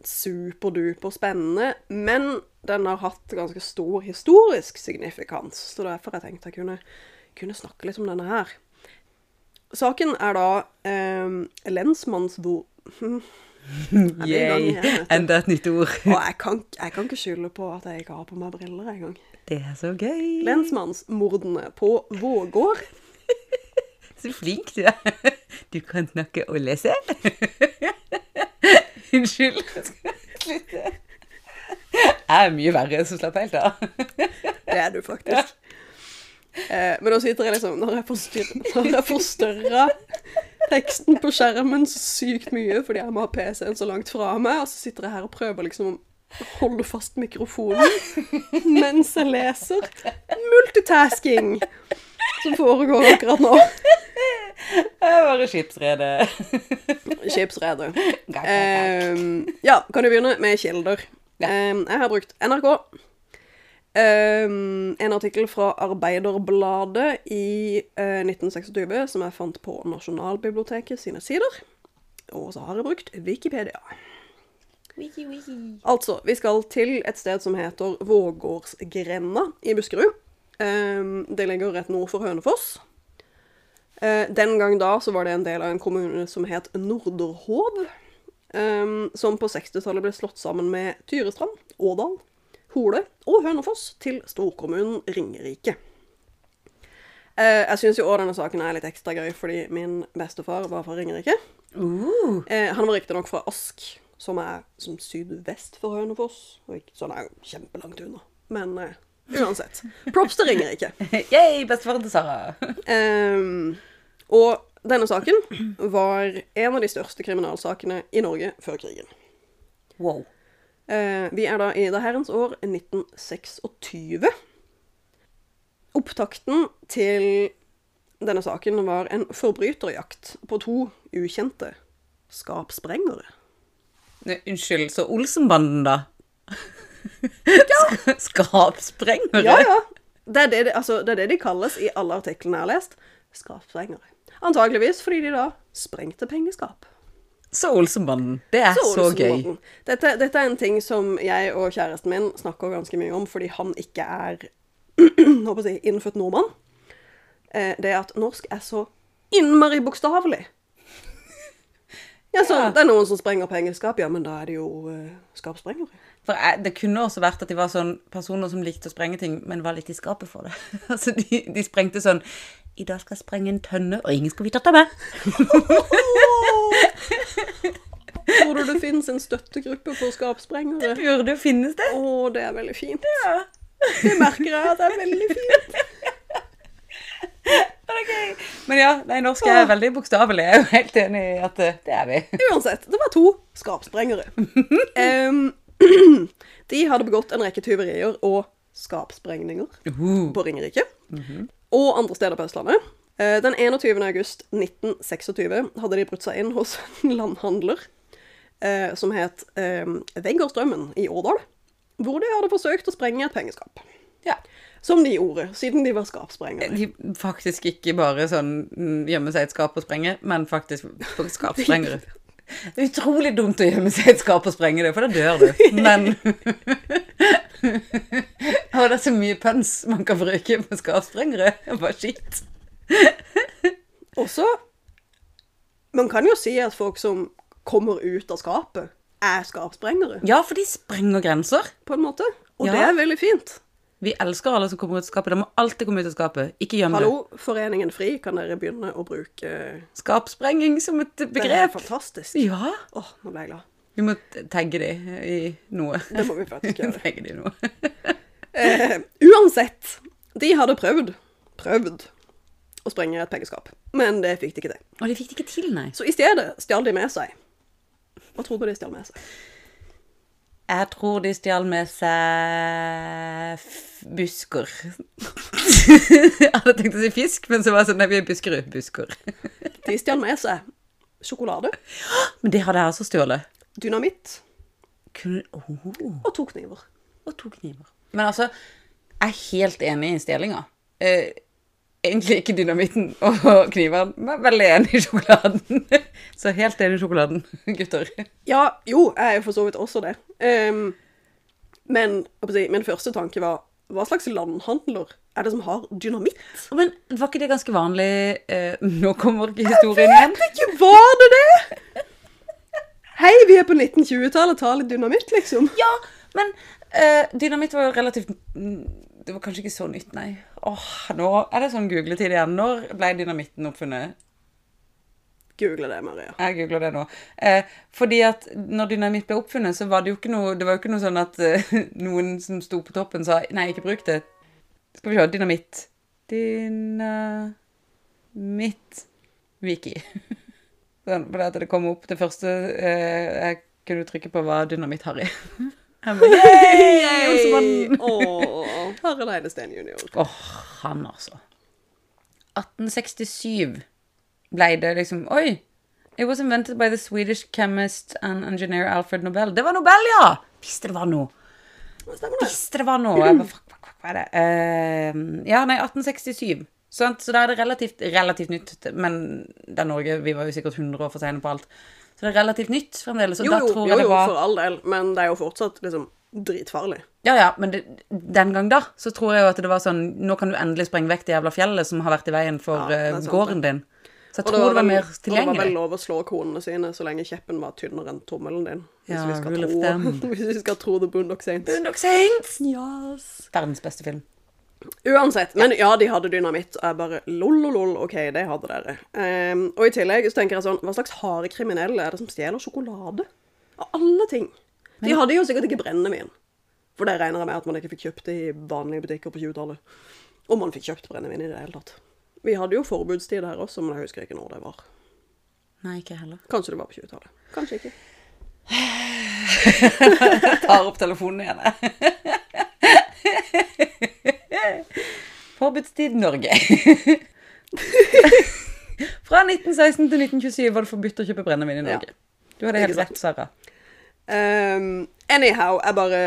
Speaker 3: superduper spennende, men den har hatt ganske stor historisk signifikans, så derfor jeg tenkte jeg kunne, kunne snakke litt om denne her. Saken er da um, lensmannsbord... det er en gang
Speaker 2: Yay.
Speaker 3: igjen,
Speaker 2: Enda et nytt ord.
Speaker 3: Og jeg kan, jeg kan ikke skylde på at jeg ikke har på meg briller engang.
Speaker 2: Det er så gøy.
Speaker 3: Lensmannsmordene på Vågård
Speaker 2: Så flink du er. Du kan snakke og lese. Unnskyld. Jeg skal slutte. Jeg er mye verre, så slapp helt av.
Speaker 3: Det er du faktisk. Eh, men da sitter jeg liksom Når jeg forstyrrer- når jeg forstørrer teksten på skjermen så sykt mye fordi jeg må ha PC-en så langt fra meg, og så sitter jeg her og prøver liksom å holde fast mikrofonen mens jeg leser. Multitasking som foregår akkurat nå.
Speaker 2: Jeg er bare skipsrede.
Speaker 3: Skipsredet.
Speaker 2: Gakk, gakk.
Speaker 3: Ehm, ja, kan du begynne med kilder?
Speaker 2: Ja.
Speaker 3: Ehm, jeg har brukt NRK. Ehm, en artikkel fra Arbeiderbladet i eh, 1926 som jeg fant på Nasjonalbiblioteket sine sider. Og så har jeg brukt Wikipedia.
Speaker 2: Wiki, wiki.
Speaker 3: Altså, vi skal til et sted som heter Vågårdsgrenda i Buskerud. Ehm, det ligger rett nord for Hønefoss. Eh, den gang da så var det en del av en kommune som het Norderhov. ehm, som på 60-tallet ble slått sammen med Tyrestrand, Ådal, Hole og Hønefoss til storkommunen Ringerike. Eh, jeg syns jo òg denne saken er litt ekstra gøy, fordi min bestefar var fra Ringerike.
Speaker 2: Uh,
Speaker 3: Eh, han var riktignok fra Ask, som er som sydvest for Hønefoss. Og ikke, så han er jo kjempelangt unna. Men eh, uansett. Props til Ringerike.
Speaker 2: yay, bestefaren til Sara.
Speaker 3: Ehm, og denne saken var en av de største kriminalsakene i Norge før krigen.
Speaker 2: Wow.
Speaker 3: Eh, vi er da i det herrens år 1926. Opptakten til denne saken var en forbryterjakt på to ukjente skapsprengere.
Speaker 2: Nei, Unnskyld, så Olsenbanden, da? Ja. Skapsprengere?
Speaker 3: Ja, ja. Det er det, de- altså, det er det de kalles i alle artiklene jeg har lest. Skapsprengere. Antageligvis fordi de da sprengte pengeskap.
Speaker 2: Så Olsenbanden. Det er så, gøy.
Speaker 3: Olsenbanden. Dette, dette er en ting som jeg og kjæresten min snakker ganske mye om, fordi han ikke er håper jeg, å si, innfødt nordmann. Eh, det at norsk er så innmari bokstavelig. Ja, så Det er noen som sprenger pengeskap, ja, men da er det jo eh, skapsprengere.
Speaker 2: For jeg, Det kunne også vært at de var sånn personer som likte å sprenge ting, men var litt i skapet for det. altså, de, de sprengte sånn I dag skal jeg sprenge en tønne, og ingen skal vite at det er meg.
Speaker 3: Tror du det finnes en støttegruppe for skapsprengere?
Speaker 2: Burde jo finnes det.
Speaker 3: Å, det er veldig fint. Det merker jeg at det er veldig fint.
Speaker 2: Men det er gøy. Men ja, nei, norsk er veldig bokstavelig. Jeg er jo helt enig i at eh, det er vi.
Speaker 3: Uansett, det var to skapsprengere. Em, de hadde begått en rekke tyverier og skapsprengninger
Speaker 2: Uh,
Speaker 3: på Ringerike og andre steder på Østlandet. Eh, Den 21. august 1926 hadde de brutt seg inn hos en landhandler eh, som het eh, Veggårdstrømmen i Årdal, hvor de hadde forsøkt å sprenge et pengeskap.
Speaker 2: ja.
Speaker 3: Som de gjorde, siden de var skapsprengere.
Speaker 2: Eh, De faktisk ikke bare sånn mm, gjemme seg i et skap og sprenge, men faktisk på skapsprengere. Det er utrolig dumt å gjemme seg i et skap og sprenge det, for da dør du. Men Å, det er så mye pønsk man kan bruke på skapsprengere. Bare shit.
Speaker 3: Også Man kan jo si at folk som kommer ut av skapet, er skapsprengere,
Speaker 2: Ja, for de sprenger grenser.
Speaker 3: på en måte. Og
Speaker 2: Ja.
Speaker 3: det er veldig fint.
Speaker 2: Vi elsker alle som kommer ut av skapet. De må alltid komme ut av skapet. Ikke gjemme det.
Speaker 3: Hallo, Foreningen FRI, kan dere begynne å bruke
Speaker 2: Skapsprenging som et
Speaker 3: Det er
Speaker 2: begrep.
Speaker 3: fantastisk. Åh,
Speaker 2: Ja.
Speaker 3: nå ble jeg glad.
Speaker 2: Vi må tagge de i noe.
Speaker 3: Det må vi faktisk gjøre.
Speaker 2: Tagge de i noe.
Speaker 3: Eh, uansett, de hadde prøvd, prøvd å sprenge et pengeskap, men det fikk de ikke til.
Speaker 2: Og de fikk det ikke til, nei.
Speaker 3: Så i stedet stjal de med seg. Hva tror du de stjal med seg?
Speaker 2: Jeg tror de stjal med seg f- busker. jeg hadde tenkt å si fisk, men så var jeg sånn Nei, vi er Buskerud. Busker.
Speaker 3: De stjal med seg sjokolade,
Speaker 2: Men det hadde jeg også stjålet.
Speaker 3: dynamitt
Speaker 2: Kunne oh,
Speaker 3: og to kniver.
Speaker 2: Og to kniver. Men altså, Jeg er helt enig i stjelinga. Eh, egentlig ikke dynamitten og knivene, men veldig enig i sjokoladen. Så helt enig i sjokoladen, gutter.
Speaker 3: Ja, jo, jeg er jo for så vidt også det. Ehm, men hva skal jeg si, min første tanke var hva slags landhandler er det som har dynamitt?
Speaker 2: Men var ikke det ganske vanlig eh, Nå kommer ikke historien igjen.
Speaker 3: Ikke var det det?! Hei, vi er på 1920-tallet, ta litt dynamitt, liksom.
Speaker 2: Ja, men eh, dynamitt var jo relativt mm, Det var kanskje ikke så nytt, nei. Åh, nå er det sånn googletid igjen. Når ble dynamitten oppfunnet?
Speaker 3: Google det, Maria.
Speaker 2: Jeg googler det nå. Eh, fordi at når dynamitt ble oppfunnet, så var det jo ikke noe, det var jo ikke noe sånn at eh, noen som sto på toppen sa nei, ikke bruk det. Skal vi se, dynamitt. Dynamitt wiki. Sånn, for det at det kom opp det første eh, jeg kunne trykke på var dynamitt Harry. Jeg bare,
Speaker 3: Hei,
Speaker 2: «Yay!»
Speaker 3: Olsemann! Åh, Harald Eidesteen junior.
Speaker 2: Åh, han altså. 1867 ble det liksom Oi! It was invented by the Swedish chemist and engineer Alfred Nobel. Det var Nobel, ja! Visste det var noe.
Speaker 3: Stemmer det?
Speaker 2: Visste det var noe. Jeg bare, fuck, fuck, fuck, hva er det? Eh, ja, nei, 1867. Sant? Så da er det relativt, relativt nytt. Men det er Norge, vi var jo sikkert 100 år for sene på alt. Så det er relativt nytt fremdeles. Og
Speaker 3: Jo,
Speaker 2: da
Speaker 3: jo,
Speaker 2: tror jeg
Speaker 3: jo, jo,
Speaker 2: det var
Speaker 3: for all del, men det er jo fortsatt liksom dritfarlig.
Speaker 2: Ja, ja, men det, den gang da, så tror jeg jo at det var sånn Nå kan du endelig sprenge vekk det jævla fjellet som har vært i veien for
Speaker 3: Ja, det er
Speaker 2: eh,
Speaker 3: sant,
Speaker 2: gården din. Så jeg
Speaker 3: Og
Speaker 2: tror det var,
Speaker 3: vel-
Speaker 2: mer
Speaker 3: Og det var vel
Speaker 2: tilgjengelig.
Speaker 3: lov å slå konene sine så lenge kjeppen var tynnere enn tommelen din. Hvis,
Speaker 2: Ja,
Speaker 3: vi, skal
Speaker 2: rule of
Speaker 3: tro,
Speaker 2: thumb.
Speaker 3: hvis vi skal tro The Boondock Saints.
Speaker 2: Boondock Saints!
Speaker 3: Yes.
Speaker 2: Verdens beste film.
Speaker 3: Uansett. Men ja, de hadde dynamitt, og jeg bare lol-lol-lol, OK, det hadde dere. Ehm, og i tillegg så tenker jeg sånn, hva slags harde kriminelle er det som stjeler sjokolade? Av alle ting. De hadde jo sikkert ikke brennevin. For det regner jeg med at man ikke fikk kjøpt i vanlige butikker på 20-tallet. Om man fikk kjøpt brennevin i det hele tatt. Vi hadde jo forbudstid her også, men jeg husker ikke når det var.
Speaker 2: Nei, ikke heller.
Speaker 3: Kanskje det var på 20-tallet. Kanskje ikke.
Speaker 2: Tar opp telefonen igjen, jeg. Forbudstid Norge. Fra 1916 til 1927 var det forbudt å kjøpe brennevin i Norge. Du hadde helt
Speaker 3: Ikke sant.
Speaker 2: rett, Sara.
Speaker 3: Um, anyhow, jeg bare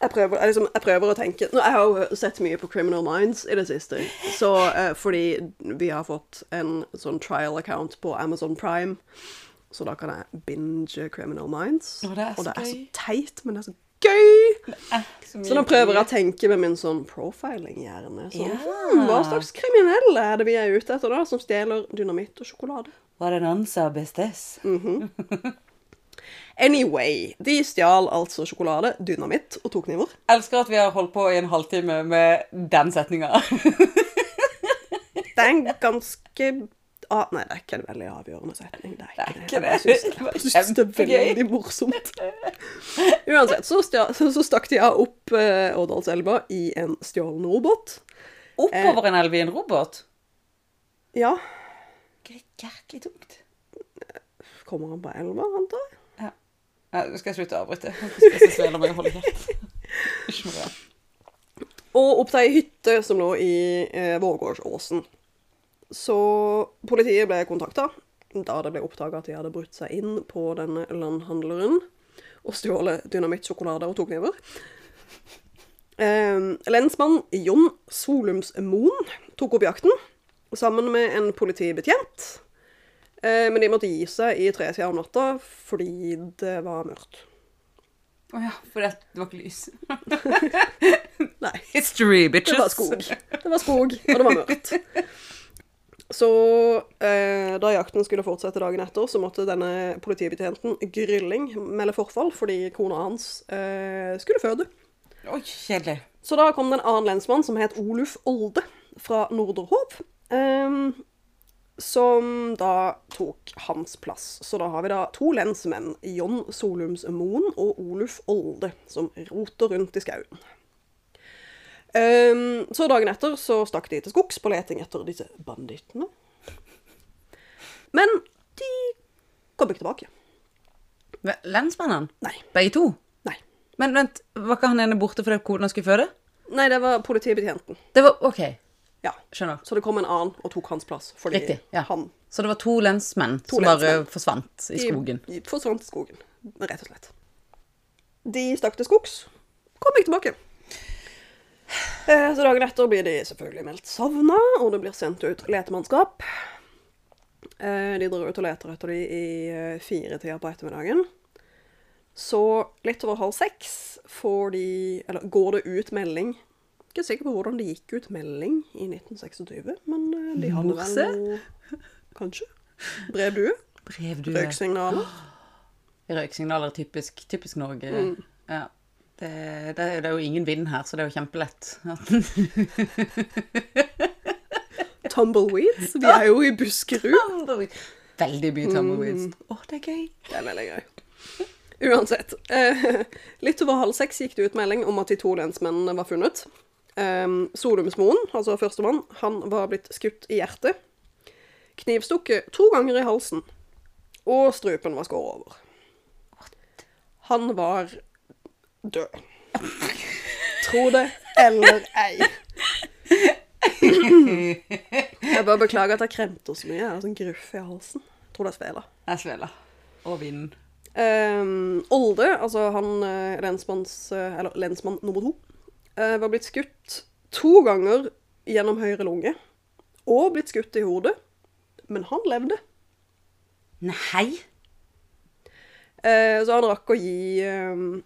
Speaker 3: jeg prøver, jeg, liksom, jeg prøver å tenke Nå, Jeg har jo sett mye på Criminal Minds i det siste. Så, eh, fordi vi har fått en sånn trial account på Amazon Prime. Så da kan jeg binge Criminal Minds.
Speaker 2: Å, det er så
Speaker 3: og det er så
Speaker 2: gøy.
Speaker 3: teit, men det er så gøy! Så nå prøver jeg å tenke med min sånn profiling-hjerne. Sånn,
Speaker 2: Ja.
Speaker 3: hmm, hva slags kriminelle er det vi er ute etter, da? Som stjeler dynamitt og sjokolade?
Speaker 2: Var det en answer bestes?
Speaker 3: Anyway, de stjal altså sjokolade, dynamitt og to kniver.
Speaker 2: Elsker at vi har holdt på i en halvtime med den setninga.
Speaker 3: Det er en ganske ah, Nei, det er ikke en veldig avgjørende setning. Det er
Speaker 2: Det er
Speaker 3: ikke det.
Speaker 2: ikke det.
Speaker 3: Jeg
Speaker 2: Det var
Speaker 3: synes- Jeg syns det er
Speaker 2: kjempegøy.
Speaker 3: veldig morsomt. Uansett, så, stja- så, så stakk de av opp eh, Årdalselva i en stjålen robåt.
Speaker 2: Oppover en elv i en robåt?
Speaker 3: Ja,
Speaker 2: Jæklig tungt.
Speaker 3: kommer han på elva, antar jeg?
Speaker 2: Ja. Nei, Nå skal jeg slutte å avbryte. Jeg skal svele meg og holde kjeft. Ikke noe bra.
Speaker 3: Og opp til ei hytte som lå i eh, Vårgårdsåsen. Så politiet ble kontakta da det ble oppdaga at de hadde brutt seg inn på denne landhandleren og stjålet dynamitt, sjokolade og to kniver. Eh, lensmann Jon Solums Moen tok opp jakten sammen med en politibetjent. Eh, men de måtte gi seg i tretida om natta fordi det var mørkt.
Speaker 2: Å ja, for det, det var ikke lys.
Speaker 3: Nei.
Speaker 2: History, bitches.
Speaker 3: Det var skog. Det var skog, og det var mørkt. Så eh, da jakten skulle fortsette dagen etter, så måtte denne politibetjenten Grylling melde forfall fordi kona hans eh, skulle føde.
Speaker 2: Oi, kjedelig.
Speaker 3: Så da kom det en annen lensmann som het Oluf Olde fra Norderhov. eh, som da tok hans plass. Så da har vi da to lensmenn, John Solums Moen og Oluf Olde, som roter rundt i skauen. Eh, så dagen etter så stakk de til skogs på leting etter disse bandittene. Men de kom ikke tilbake.
Speaker 2: Men Lensmannen?
Speaker 3: Nei.
Speaker 2: Begge to?
Speaker 3: Nei.
Speaker 2: Men vent, var ikke han ene borte fordi kona skulle føde?
Speaker 3: Nei, det var politibetjenten.
Speaker 2: Det var OK.
Speaker 3: Ja.
Speaker 2: Skjønner.
Speaker 3: Så det kom en annen og tok hans plass, fordi
Speaker 2: Riktig. Ja.
Speaker 3: han
Speaker 2: Så det var to lensmenn
Speaker 3: To
Speaker 2: som bare
Speaker 3: lensmenn.
Speaker 2: forsvant i skogen?
Speaker 3: De forsvant i skogen, rett og slett. De stakk til skogs, kom ikke tilbake. Eh, Så dagen etter blir de selvfølgelig meldt savna, og det blir sendt ut letemannskap. Eh, De drar ut og leter etter de i eh, firetida på ettermiddagen. Så litt over halv seks får de, eller går det ut melding. Ikke sikker på hvordan det gikk ut melding i 1926, men eh, de hadde
Speaker 2: Morse?
Speaker 3: vel noe Kanskje. Brevdue?
Speaker 2: Brevdue.
Speaker 3: Røyksignaler?
Speaker 2: Røyksignaler er typisk, typisk Norge.
Speaker 3: Mm.
Speaker 2: Ja. Det, det, det er jo ingen vind her, så det er jo kjempelett.
Speaker 3: Tumbleweeds? Vi er jo i Buskerud.
Speaker 2: Veldig mye tumbleweeds.
Speaker 3: Mm.
Speaker 2: Å, Mm. det er gøy.
Speaker 3: Det er veldig gøy. Uansett. Eh, litt over halv seks gikk det ut melding om at de to lensmennene var funnet. Eh, Solumsmoen, altså førstemann, han var blitt skutt i hjertet. Knivstukket to ganger i halsen. Og strupen var skåret over. Han var død. Tro det eller ei. Jeg bare beklager at jeg kremter så mye. Jeg har sånn gruff i halsen. Tror det er svela.
Speaker 2: Jeg sveler. Og vinden.
Speaker 3: Ehm, Olde, altså han eh, lensmanns, eh, eller lensmann nummer to, eh, var blitt skutt to ganger gjennom høyre lunge, og blitt skutt i hodet, men han levde.
Speaker 2: Nei!
Speaker 3: Eh, så han rakk å gi ehm,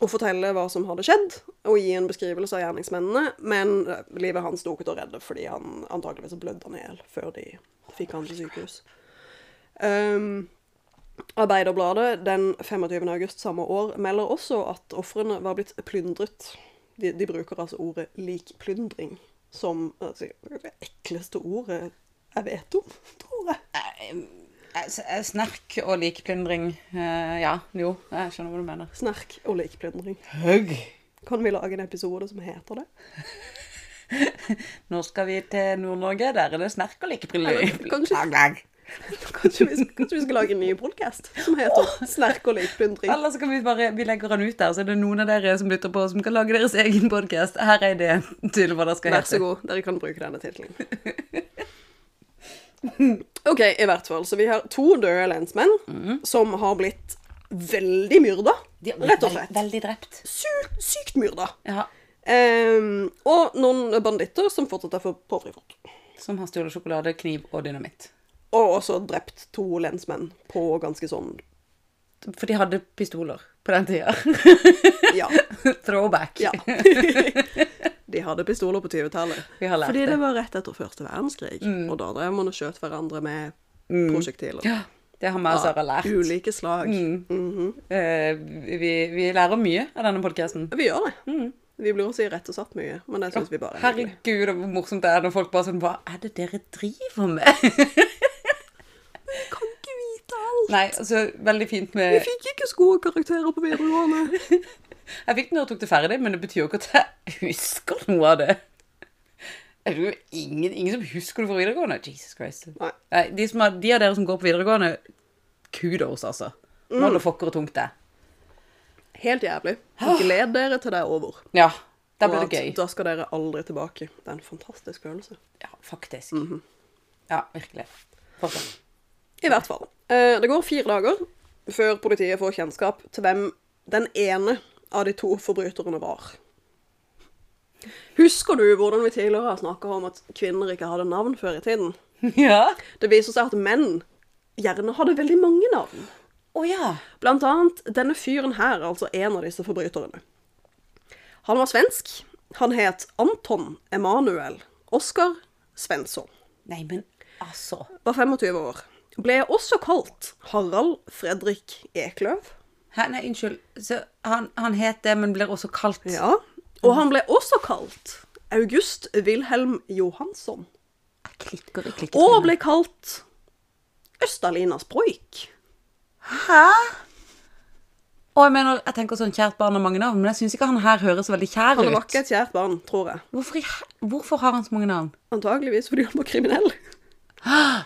Speaker 3: å fortelle hva som hadde skjedd, og gi en beskrivelse av gjerningsmennene, men eh, livet hans sto ikke til å redde, fordi han antakeligvis blødde han i hjel før de fikk han til sykehus. Ehm, Arbeiderbladet den 25. august samme år melder også at ofrene var blitt plyndret. De, de bruker altså ordet likplyndring som altså, det ekleste ordet jeg vet om, tror jeg.
Speaker 2: Eh, s- eh, Snerk og likplyndring. eh, Ja, jo, jeg skjønner hva du mener.
Speaker 3: Snerk og likplyndring.
Speaker 2: Høgg!
Speaker 3: Kan vi lage en episode som heter det?
Speaker 2: Nå skal vi til Nord-Norge. Der er det snerk og likplyndring.
Speaker 3: Eller, kanskje- Kanskje vi, kanskje vi skal lage en ny podkast som heter 'Snerk og likplyndring'.
Speaker 2: Eller så kan vi bare vi legger den ut der, så er det noen av dere som lytter på, som kan lage deres egen podkast. Her er ideen til hva det skal
Speaker 3: Vær så
Speaker 2: hete.
Speaker 3: god, dere kan bruke denne tittelen. OK, i hvert fall. Så vi har to døde lensmenn som har blitt veldig myrda. Rett og slett.
Speaker 2: Veldig drept.
Speaker 3: Sykt, sykt myrda.
Speaker 2: Ja.
Speaker 3: Ehm, og noen banditter som fortsatt er for- på frifot.
Speaker 2: Som har stjålet sjokolade, kniv og dynamitt.
Speaker 3: Og også drept to lensmenn på ganske sånn
Speaker 2: For de hadde pistoler på den tida.
Speaker 3: Ja.
Speaker 2: Throwback.
Speaker 3: Ja. De hadde pistoler på 20-tallet.
Speaker 2: Vi har lært
Speaker 3: Fordi
Speaker 2: det. Mm.
Speaker 3: det var rett etter første verdenskrig. Og da drev man og skjøt hverandre med prosjektiler.
Speaker 2: Ja, Det har vi og Sara lært. Mm.
Speaker 3: Ulike slag.
Speaker 2: Eh, vi, vi lærer mye av denne podkasten.
Speaker 3: Vi gjør det. Vi blir også irettesatt mye, men det syns vi bare er hyggelig.
Speaker 2: Mm. Herregud, og hvor morsomt det er når folk bare sånn Hva er det dere driver med?
Speaker 3: Kan ikke vite alt!
Speaker 2: Nei, altså, veldig fint
Speaker 3: Vi
Speaker 2: med
Speaker 3: fikk ikke gode karakterer på videregående.
Speaker 2: Jeg fikk den når jeg tok det ferdig, men det betyr jo ikke at jeg husker noe av det. Er det jo ingen, ingen som husker det fra videregående? Jesus Christ.
Speaker 3: Nei.
Speaker 2: de, som har, de av dere som går på videregående, kudos, altså. Nå holder fokker og tungt det.
Speaker 3: Helt jævlig. Gled dere til det er over.
Speaker 2: Ja, Ah. da
Speaker 3: Og
Speaker 2: blir
Speaker 3: at
Speaker 2: det gøy.
Speaker 3: Da skal dere aldri tilbake. Det er en fantastisk følelse.
Speaker 2: Ja, faktisk. Ja, virkelig. Fortsatt.
Speaker 3: I hvert fall. Eh, Det går fire dager før politiet får kjennskap til hvem den ene av de to forbryterne var. Husker du hvordan vi tidligere har snakka om at kvinner ikke hadde navn før i tiden?
Speaker 2: Ja.
Speaker 3: Det viser seg at menn gjerne hadde veldig mange navn.
Speaker 2: Å ja.
Speaker 3: Blant annet denne fyren her, altså en av disse forbryterne. Han var svensk. Han het Anton Emanuel Oskar Svensson.
Speaker 2: Nei, men altså.
Speaker 3: Var 25 år. Ble også kalt Harald Fredrik Ekløv.
Speaker 2: Hæ, nei, unnskyld. Så han, han het det, men blir også kalt
Speaker 3: Ja, og han ble også kalt August Wilhelm Johansson.
Speaker 2: Jeg klikker, jeg klikker.
Speaker 3: Og ble kalt Østalinas Broik.
Speaker 2: Hæ? Og jeg mener, jeg tenker sånn kjært barn har mange navn, men jeg syns ikke han her høres veldig kjær
Speaker 3: Han var
Speaker 2: ut.
Speaker 3: ikke et kjært barn, tror jeg.
Speaker 2: Hvorfor, i he- hvorfor har han så mange navn?
Speaker 3: Antageligvis fordi han var kriminell.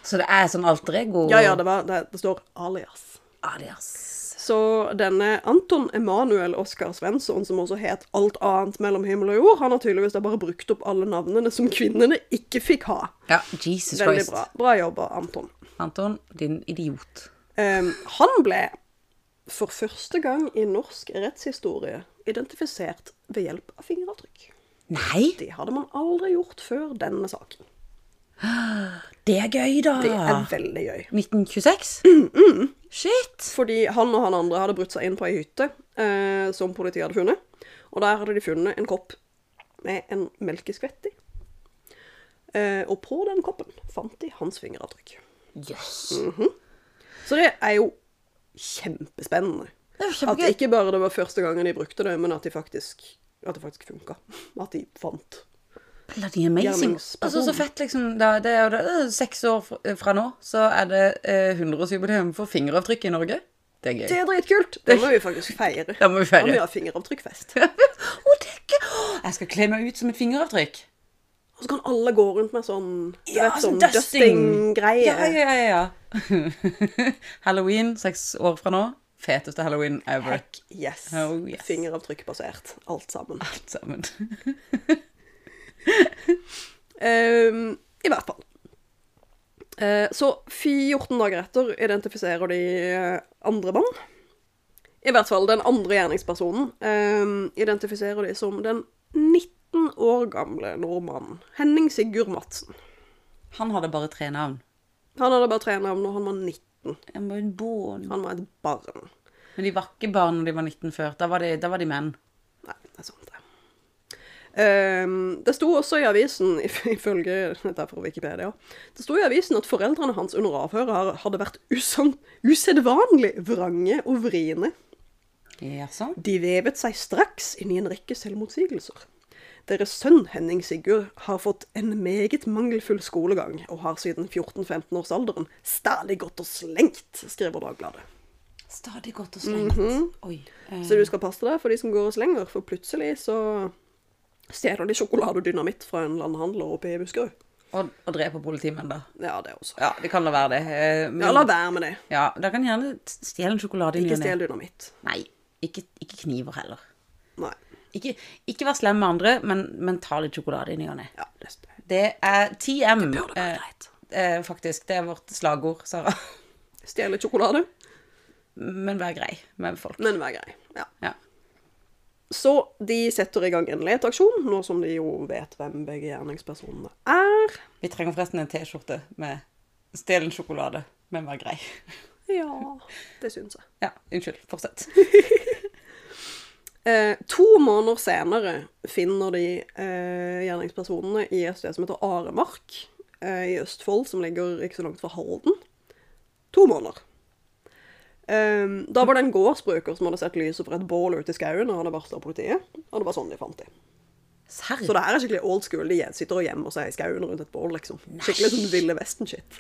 Speaker 2: Så det er sånn alter ego? Ah,
Speaker 3: Ja, ja, det, var, det, det står alias.
Speaker 2: Adias.
Speaker 3: Så denne Anton Emanuel Oskar Svensson, som også het alt annet mellom himmel og jord, han har tydeligvis da bare brukt opp alle navnene som kvinnene ikke fikk ha.
Speaker 2: Ja, Jesus
Speaker 3: Veldig
Speaker 2: Christ.
Speaker 3: bra. Bra jobba, Anton.
Speaker 2: Anton, din idiot.
Speaker 3: Um, han ble for første gang i norsk rettshistorie identifisert ved hjelp av fingeravtrykk.
Speaker 2: Nei,
Speaker 3: Det hadde man aldri gjort før denne saken.
Speaker 2: det er gøy, da.
Speaker 3: Det er Mm, veldig gøy.
Speaker 2: 1926? Shit.
Speaker 3: Fordi han og han andre hadde brutt seg inn på ei hytte eh, som politiet hadde funnet. Og der hadde de funnet en kopp med en melkeskvett i. Eh, og på den koppen fant de hans fingeravtrykk.
Speaker 2: Jøss.
Speaker 3: Så det er jo kjempespennende.
Speaker 2: Det er jo
Speaker 3: At
Speaker 2: kjempegøy.
Speaker 3: ikke bare det var første gangen de brukte det, men at, de faktisk, at det faktisk funka. At de fant.
Speaker 2: Bloody amazing.
Speaker 3: Gjerningsperson.
Speaker 2: Altså, så fett, liksom. Da, det er jo da, øh, seks år fra- fra nå, så er det eh, 100-årsjubileum for fingeravtrykk i Norge. Det er gøy.
Speaker 3: Det er dritkult! Det må vi faktisk feire.
Speaker 2: Det må vi feire.
Speaker 3: Da må vi ha fingeravtrykkfest.
Speaker 2: Å, det er gøy. Å, Jeg skal kle meg ut som et fingeravtrykk.
Speaker 3: Og så kan alle gå rundt med sånn, du vet, sånn
Speaker 2: sånn
Speaker 3: dusting-greie.
Speaker 2: Ja, ja, ja. ja. Halloween, seks år fra nå. Feteste Halloween ever.
Speaker 3: Heck yes.
Speaker 2: Oh, yes.
Speaker 3: Fingeravtrykkbasert, alt sammen.
Speaker 2: Alt sammen.
Speaker 3: Ehm, I hvert fall. Eh, så 14 dager etter identifiserer de eh, andre mann. I hvert fall den andre gjerningspersonen ehm, identifiserer de som den 19 år gamle nordmannen Henning Sigurd Madsen.
Speaker 2: Han hadde bare tre navn.
Speaker 3: Han hadde bare tre navn når han var 19.
Speaker 2: Han var en barn.
Speaker 3: Han var et barn.
Speaker 2: Men de var ikke barn når de var 19 før. Da var de, da var de menn.
Speaker 3: Nei, det er sant, det. Ehm, det sto også i avisen, if- ifølge dette er fra Wikipedia, det sto i avisen at foreldrene hans under avhøret har- hadde vært usann, usedvanlig vrange og vriene.
Speaker 2: Jaså?
Speaker 3: De vevet seg straks inn i en rekke selvmotsigelser. Deres sønn Henning Sigurd har fått en meget mangelfull skolegang, og har siden 14-15-årsalderen stadig gått og slengt, skriver Dagbladet.
Speaker 2: Stadig godt og slengt. Oi. eh,
Speaker 3: Så du skal passe deg for de som går og slenger, for plutselig så stjeler de sjokolade og dynamitt fra en landhandler oppe i Buskerud.
Speaker 2: og, og dreper politimenn, da.
Speaker 3: Ja, det også.
Speaker 2: Ja, vi kan la være det. eh, Men,
Speaker 3: Ja, la være med det.
Speaker 2: Ja, da kan gjerne t- stjele en sjokolade i ny
Speaker 3: Ikke
Speaker 2: og ne.
Speaker 3: stjel dynamitt.
Speaker 2: Nei, ikke, ikke kniver heller.
Speaker 3: Nei.
Speaker 2: Ikke, ikke vær slem med andre, men, men ta litt sjokolade i ny og ne.
Speaker 3: Ja, det er
Speaker 2: Det er TM,
Speaker 3: burde være
Speaker 2: eh,
Speaker 3: greit.
Speaker 2: eh, faktisk. Det er vårt slagord, Sara.
Speaker 3: Stjel litt sjokolade,
Speaker 2: Men vær grei med folk.
Speaker 3: men vær grei. Ja.
Speaker 2: Ja.
Speaker 3: Så de setter i gang en leteaksjon, nå som de jo vet hvem begge gjerningspersonene er.
Speaker 2: Vi trenger forresten en T-skjorte med 'Stjel en sjokolade, men vær grei'.
Speaker 3: Ja, det syns jeg.
Speaker 2: Ja, unnskyld. Fortsett.
Speaker 3: Eh, to måneder senere finner de eh, gjerningspersonene i et sted som heter Aremark eh, i Østfold, som ligger ikke så langt fra Halden. To måneder. Eh, da var det en gårdsbruker som hadde sett lyset fra et bål ute i skauen og hadde varsla politiet. Og det var sånn de fant dem.
Speaker 2: Serr?
Speaker 3: Så det her er skikkelig old school. De sitter og gjemmer seg i skauen rundt et bål, liksom. Skikkelig sånn Ville Vesten-shit.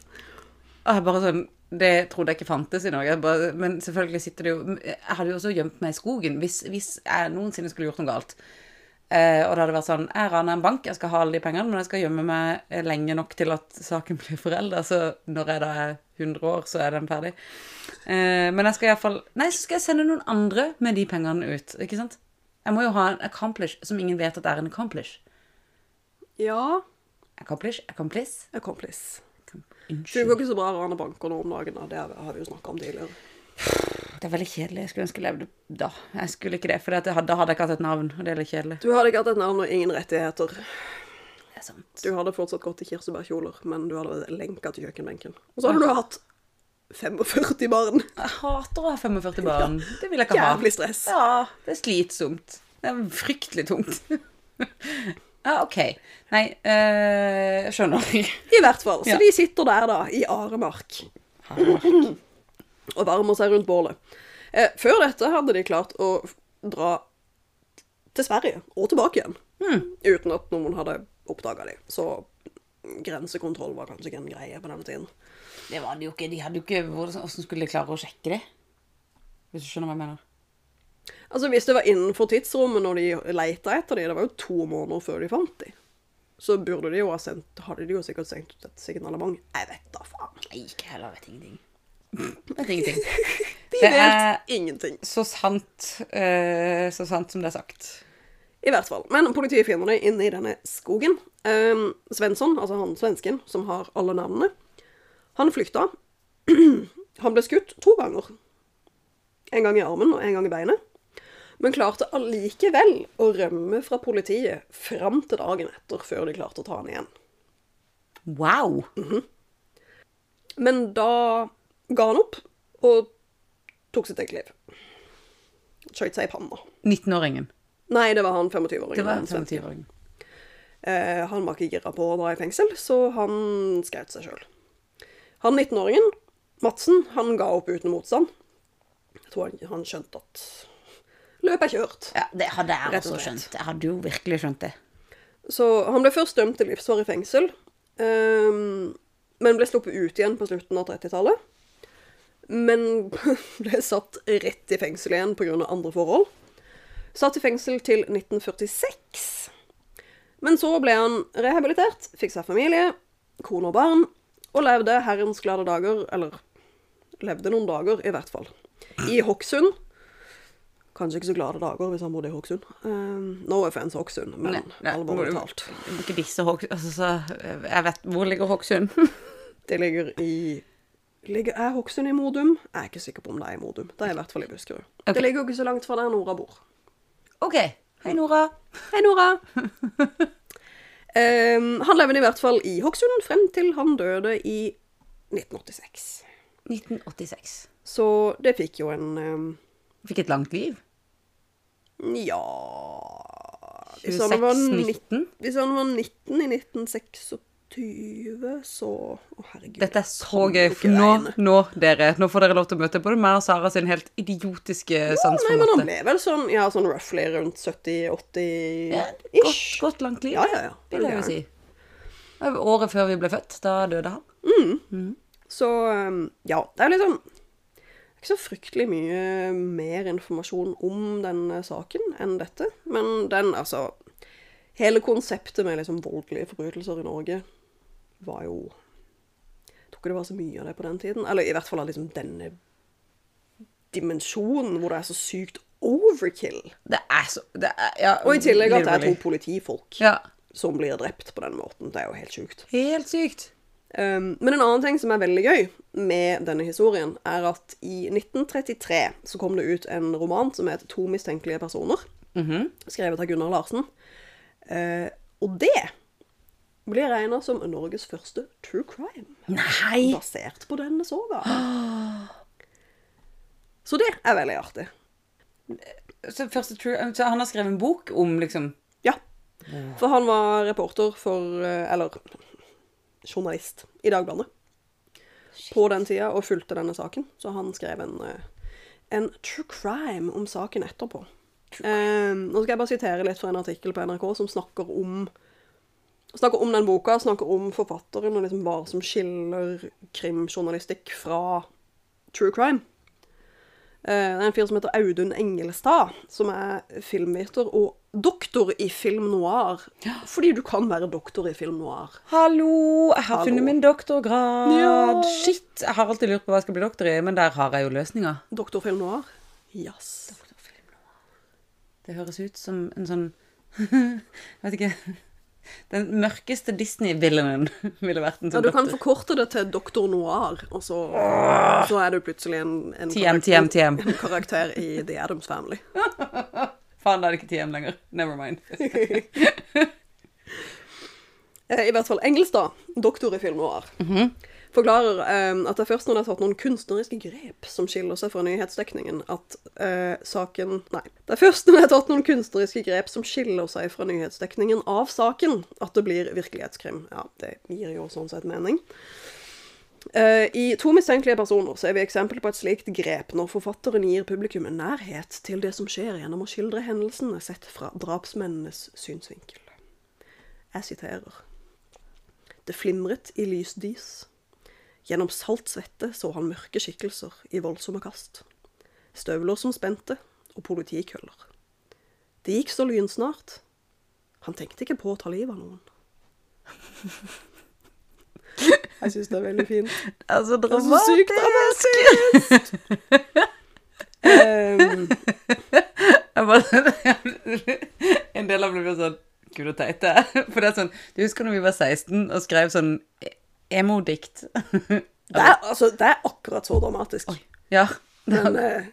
Speaker 2: Og jeg bare sånn, Det trodde jeg ikke fantes i Norge. Jeg Bare, men selvfølgelig sitter det jo Jeg hadde jo også gjemt meg i skogen hvis, hvis jeg noensinne skulle gjort noe galt. Eh, og det hadde vært sånn Jeg raner en bank, jeg skal ha alle de pengene, men jeg skal gjemme meg eh, lenge nok til at saken blir forelda. Så når jeg da er 100 år, så er den ferdig. Eh, men jeg skal iallfall Nei, så skal jeg sende noen andre med de pengene ut. Ikke sant? Jeg må jo ha en accomplish som ingen vet at er en accomplish.
Speaker 3: Ja,
Speaker 2: Accomplish? Accomplice?
Speaker 3: accomplice. Det
Speaker 2: Unnskyld.
Speaker 3: går ikke så bra å rane banker nå om dagen, da. det har vi jo snakka om tidligere.
Speaker 2: Det er veldig kjedelig. Jeg skulle ønske jeg levde da. Jeg skulle ikke det, for da hadde, da hadde jeg ikke hatt et navn. og det er litt kjedelig.
Speaker 3: Du hadde ikke hatt et navn og ingen rettigheter.
Speaker 2: Det er sant.
Speaker 3: Du hadde fortsatt gått i kirsebærkjoler, men du hadde vært lenka til kjøkkenbenken. Og så hadde du hatt 45 barn.
Speaker 2: Jeg hater å ha 45 barn. Det vil jeg ikke ha.
Speaker 3: Jævlig stress.
Speaker 2: Ja, det er slitsomt. Det er fryktelig tungt. ja, ok. Nei, øh, jeg skjønner.
Speaker 3: I hvert fall. Så
Speaker 2: Ja.
Speaker 3: de sitter der, da, i Aremark, og varmer seg rundt bålet. Eh, før dette hadde de klart å f- dra til Sverige, og tilbake igjen.
Speaker 2: Hmm.
Speaker 3: Uten at noen hadde oppdaga dem. Så grensekontroll var kanskje ikke en greie på denne tiden.
Speaker 2: Det var det jo ikke. De hadde jo ikke Hvordan hvordan skulle de klare å sjekke det? Hvis du skjønner hva jeg mener.
Speaker 3: Altså Hvis det var innenfor tidsrommet når de leita etter dem, det var jo to måneder før de fant dem, så burde de jo ha sendt, hadde de jo sikkert sendt ut et signalement. Jeg vet da faen.
Speaker 2: Nei, ikke heller. Vet ingenting. Vet ingenting.
Speaker 3: De
Speaker 2: Det
Speaker 3: vet
Speaker 2: er-
Speaker 3: ingenting.
Speaker 2: Så sant, øh, så sant som det er sagt.
Speaker 3: I hvert fall. Men politiet finner dem inne i denne skogen. Um, Svensson, altså han svensken som har alle navnene, han flykta. han ble skutt to ganger. En gang i armen og en gang i beinet. men klarte allikevel å rømme fra politiet fram til dagen etter, før de klarte å ta han igjen.
Speaker 2: Wow.
Speaker 3: Men da ga han opp, og tok sitt eget liv. Skjøt seg i panna.
Speaker 2: 19-åringen.
Speaker 3: Nei, det var han 25-åringen.
Speaker 2: Det var
Speaker 3: den svensken.
Speaker 2: 25-åringen.
Speaker 3: Eh, han var ikke gira på å dra i fengsel, så han skjøt seg sjøl. Han 19-åringen, Madsen, han ga opp uten motstand. Jeg tror han, han skjønte at løpet er kjørt.
Speaker 2: Ja, det hadde jeg
Speaker 3: Rett og
Speaker 2: også
Speaker 3: slett.
Speaker 2: skjønt. Jeg hadde jo virkelig skjønt det.
Speaker 3: Så han ble først dømt til livsår i fengsel, ehm, men ble sluppet ut igjen på slutten av 30-tallet. Men ble satt rett i fengsel igjen pga. andre forhold. Satt i fengsel til 1946. Men så ble han rehabilitert, fikk seg familie, kone og barn, og levde herrens glade dager, eller levde noen dager i hvert fall, i Hokksund. Kanskje ikke så glade dager hvis han bodde i Hokksund. Um, no offense Hokksund, men
Speaker 2: Nei,
Speaker 3: alvorlig
Speaker 2: hvor-
Speaker 3: talt.
Speaker 2: Ikke disse Hokksund altså, så- Jeg vet Hvor ligger Hokksund?
Speaker 3: Det ligger i ligger, Er Hokksund i Modum? Jeg er ikke sikker på om det er i Modum. Det er i hvert fall i Buskerud.
Speaker 2: Ok.
Speaker 3: Det ligger jo ikke så langt fra der Nora bor.
Speaker 2: OK. Hei, Nora.
Speaker 3: Hei, Nora! Em, Ehm, han levde i hvert fall i Hokksund frem til han døde i 1986.
Speaker 2: 1986.
Speaker 3: Så det fikk jo en ehm, em,
Speaker 2: Fikk et langt liv.
Speaker 3: Ja Hvis han var
Speaker 2: 26,
Speaker 3: 19, hvis han var 19 i 1926, så Å, herregud.
Speaker 2: Dette er så
Speaker 3: kan
Speaker 2: gøy.
Speaker 3: jo
Speaker 2: For
Speaker 3: ikke
Speaker 2: nå,
Speaker 3: regne.
Speaker 2: nå, dere, nå får dere lov til å møte både meg og Sara sin helt idiotiske sans
Speaker 3: Nei,
Speaker 2: for
Speaker 3: men han
Speaker 2: matte.
Speaker 3: ble vel sånn, ja, sånn roughly rundt 70-80-ish.
Speaker 2: Ja, Godt, godt langt liv,
Speaker 3: Ja, ja, ja.
Speaker 2: vil jeg jo si. Det var Året før vi ble født, da døde han.
Speaker 3: Så um, ja, det er liksom ikke så fryktelig mye mer informasjon om denne saken enn dette. Men den, altså Hele konseptet med liksom voldelige forbrytelser i Norge var jo Jeg tror ikke det var så mye av det på den tiden. Eller i hvert fall av liksom denne dimensjonen hvor det er så sykt overkill.
Speaker 2: Det er så det er, ja,
Speaker 3: Og i tillegg at det er
Speaker 2: literally.
Speaker 3: to politifolk
Speaker 2: Ja.
Speaker 3: som blir drept på den måten. Det er jo helt sjukt.
Speaker 2: Helt sykt.
Speaker 3: Um, men en annen ting som er veldig gøy med denne historien, er at i 1933 så kom det ut en roman som het 'To mistenkelige personer', skrevet av Gunnar Larsen. Eh, og det blir regna som Norges første true crime,
Speaker 2: Nei!
Speaker 3: basert på denne soga. Så det er veldig artig.
Speaker 2: Så første true, så han har skrevet en bok om liksom
Speaker 3: Ja. For han var reporter for eh, Eller journalist i Dagbladet på den tida og fulgte denne saken. Så han skrev en, eh, en true crime om saken etterpå. Eh, nå skal jeg bare sitere litt fra en artikkel på NRK som snakker om Snakker om den boka, snakker om forfatteren og liksom hva som skiller krimjournalistikk fra true crime. Eh, Det er en fyr som heter Audun Engelstad, som er filmviter og doktor i film noir. Fordi du kan være doktor i film noir.
Speaker 2: Hallo, jeg har
Speaker 3: Hallo.
Speaker 2: funnet min doktorgrad.
Speaker 3: Ja.
Speaker 2: Shit, jeg har alltid lurt på hva jeg skal bli doktor i, men der har jeg jo løsninga.
Speaker 3: Doktor film noir? Yes.
Speaker 2: Det høres ut som en sånn Jeg vet ikke Den mørkeste Disney-villainen ville vært en
Speaker 3: Ja,
Speaker 2: sånn
Speaker 3: du kan
Speaker 2: doktor.
Speaker 3: forkorte det til doktor noir, og så, så er du plutselig en, en,
Speaker 2: TM, TM,
Speaker 3: karakter,
Speaker 2: TM.
Speaker 3: en karakter i The Addams Family.
Speaker 2: Faen, da er det ikke TM lenger. Never mind.
Speaker 3: Eh, I hvert fall Engelstad, doktor i film noir, forklarer eh, at det er først når det er tatt noen kunstneriske grep som skiller seg fra nyhetsdekningen, at eh, saken Nei. Det er først når det er tatt noen kunstneriske grep som skiller seg fra nyhetsdekningen av saken, at det blir virkelighetskrim. Ja, det gir jo sånn sett mening. Eh, I To mistenkelige personer ser vi eksempel på et slikt grep når forfatteren gir publikum en nærhet til det som skjer gjennom å skildre hendelsene sett fra drapsmennenes synsvinkel. Jeg siterer. Det flimret i lys dis. Gjennom salt svette så han mørke skikkelser i voldsomme kast. Støvler som spente, og politikøller. Det gikk så lynsnart. Han tenkte ikke på å ta livet av noen. Jeg syns det er veldig fint.
Speaker 2: Altså,
Speaker 3: Det er så sykt dramatisk! Ehm,
Speaker 2: Jeg bare, en del av meg blir sånn Gud, så teit det er. For det er sånn Du husker når vi var 16 og skrev sånn e- emo-dikt?
Speaker 3: det, er, altså, det er akkurat så dramatisk.
Speaker 2: Ja.
Speaker 3: Men eh,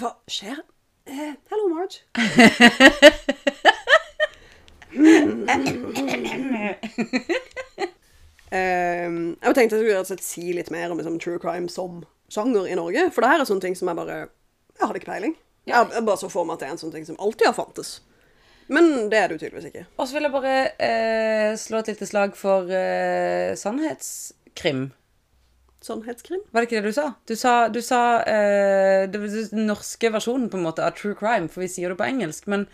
Speaker 3: hva skjer Eh, hello, Marge. Ehm, jeg tenkte jeg skulle rett og slett si litt mer om liksom, true crime som sjanger i Norge. For det her er sånne ting som jeg bare Jeg hadde ikke peiling. Jeg, jeg bare så for meg at det er en sånn ting som alltid har fantes. Men det er det jo tydeligvis ikke.
Speaker 2: Og så vil jeg bare eh, slå et lite slag for eh, sannhetskrim.
Speaker 3: Sannhetskrim.
Speaker 2: Var det ikke det du sa? Du sa, du sa eh, det var den norske versjonen på en måte av true crime, for vi sier det på engelsk. Men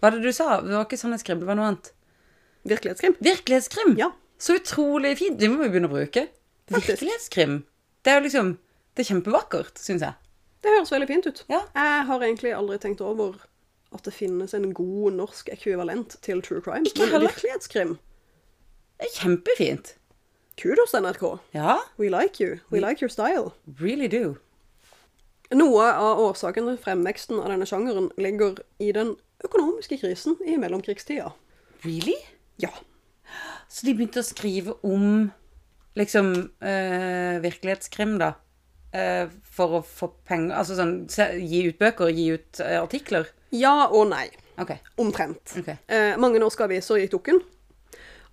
Speaker 2: hva var det du sa? Det var ikke sannhetskrim, det var noe annet.
Speaker 3: Virkelighetskrim.
Speaker 2: Virkelighetskrim!
Speaker 3: Ja.
Speaker 2: Så utrolig fint. Det må vi begynne å bruke.
Speaker 3: Faktisk.
Speaker 2: Virkelighetskrim. Det er jo liksom Det er kjempevakkert, syns jeg.
Speaker 3: Det høres veldig fint ut.
Speaker 2: Ja.
Speaker 3: Jeg har egentlig aldri tenkt over at det finnes en god norsk ekvivalent til true crime.
Speaker 2: Ikke heller.
Speaker 3: virkelighetskrim.
Speaker 2: Det er kjempefint.
Speaker 3: Kudos, NRK.
Speaker 2: Ja.
Speaker 3: We like you. We
Speaker 2: Mm.
Speaker 3: like your style.
Speaker 2: Really do.
Speaker 3: Noe av årsaken til fremveksten av denne sjangeren ligger i den økonomiske krisen i mellomkrigstida.
Speaker 2: Really?
Speaker 3: Ja.
Speaker 2: Så de begynte å skrive om liksom eh, virkelighetskrim, da. Eh, for å få penger Altså sånn se- gi ut bøker, gi ut eh, artikler.
Speaker 3: Ja og nei.
Speaker 2: OK.
Speaker 3: Omtrent.
Speaker 2: Ok.
Speaker 3: Eh, mange norske aviser gikk dukken.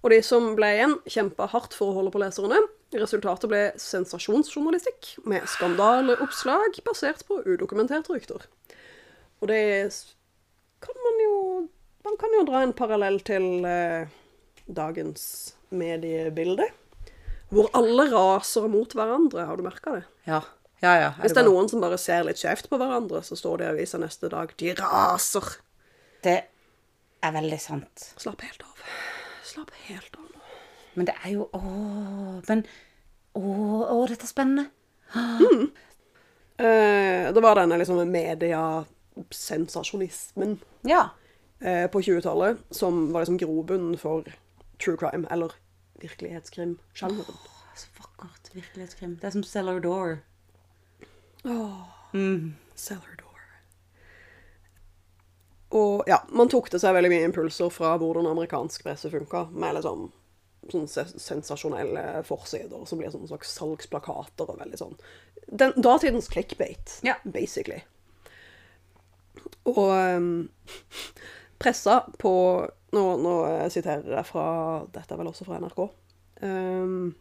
Speaker 3: Og de som ble igjen, kjempa hardt for å holde på leserne. Resultatet ble sensasjonsjournalistikk med skandaleoppslag basert på udokumenterte rykter. Og det s- kan man jo Man kan jo dra en parallell til eh, dagens mediebilde. Hvor alle raser mot hverandre, har du merka det?
Speaker 2: Ja. Ja, ja.
Speaker 3: Hvis det er
Speaker 2: bra?
Speaker 3: noen som bare ser litt skjevt på hverandre, så står det i avisa neste dag 'De raser'.
Speaker 2: Det er veldig sant.
Speaker 3: Slapp helt av. Slapp helt av nå.
Speaker 2: Men det er jo Å, men Å, å dette er spennende.
Speaker 3: Eh, det var denne liksom mediesensasjonismen
Speaker 2: Ja.
Speaker 3: eh, på 20-tallet som var liksom grobunnen for true crime, eller virkelighetskrim-sjangeren.
Speaker 2: Så vakkert. Virkelighetskrim. Det er som Cellar Door.
Speaker 3: Cellar door. Og ja, man tok til seg veldig mye impulser fra hvordan amerikansk presse funka, med liksom sånne se- sensasjonelle forsider som blir sånne slags salgsplakater og veldig sånn. Den, datidens clickbait,
Speaker 2: Ja.
Speaker 3: basically. Og ehm, pressa på nå, nå siterer jeg fra Dette er vel også fra NRK. ehm,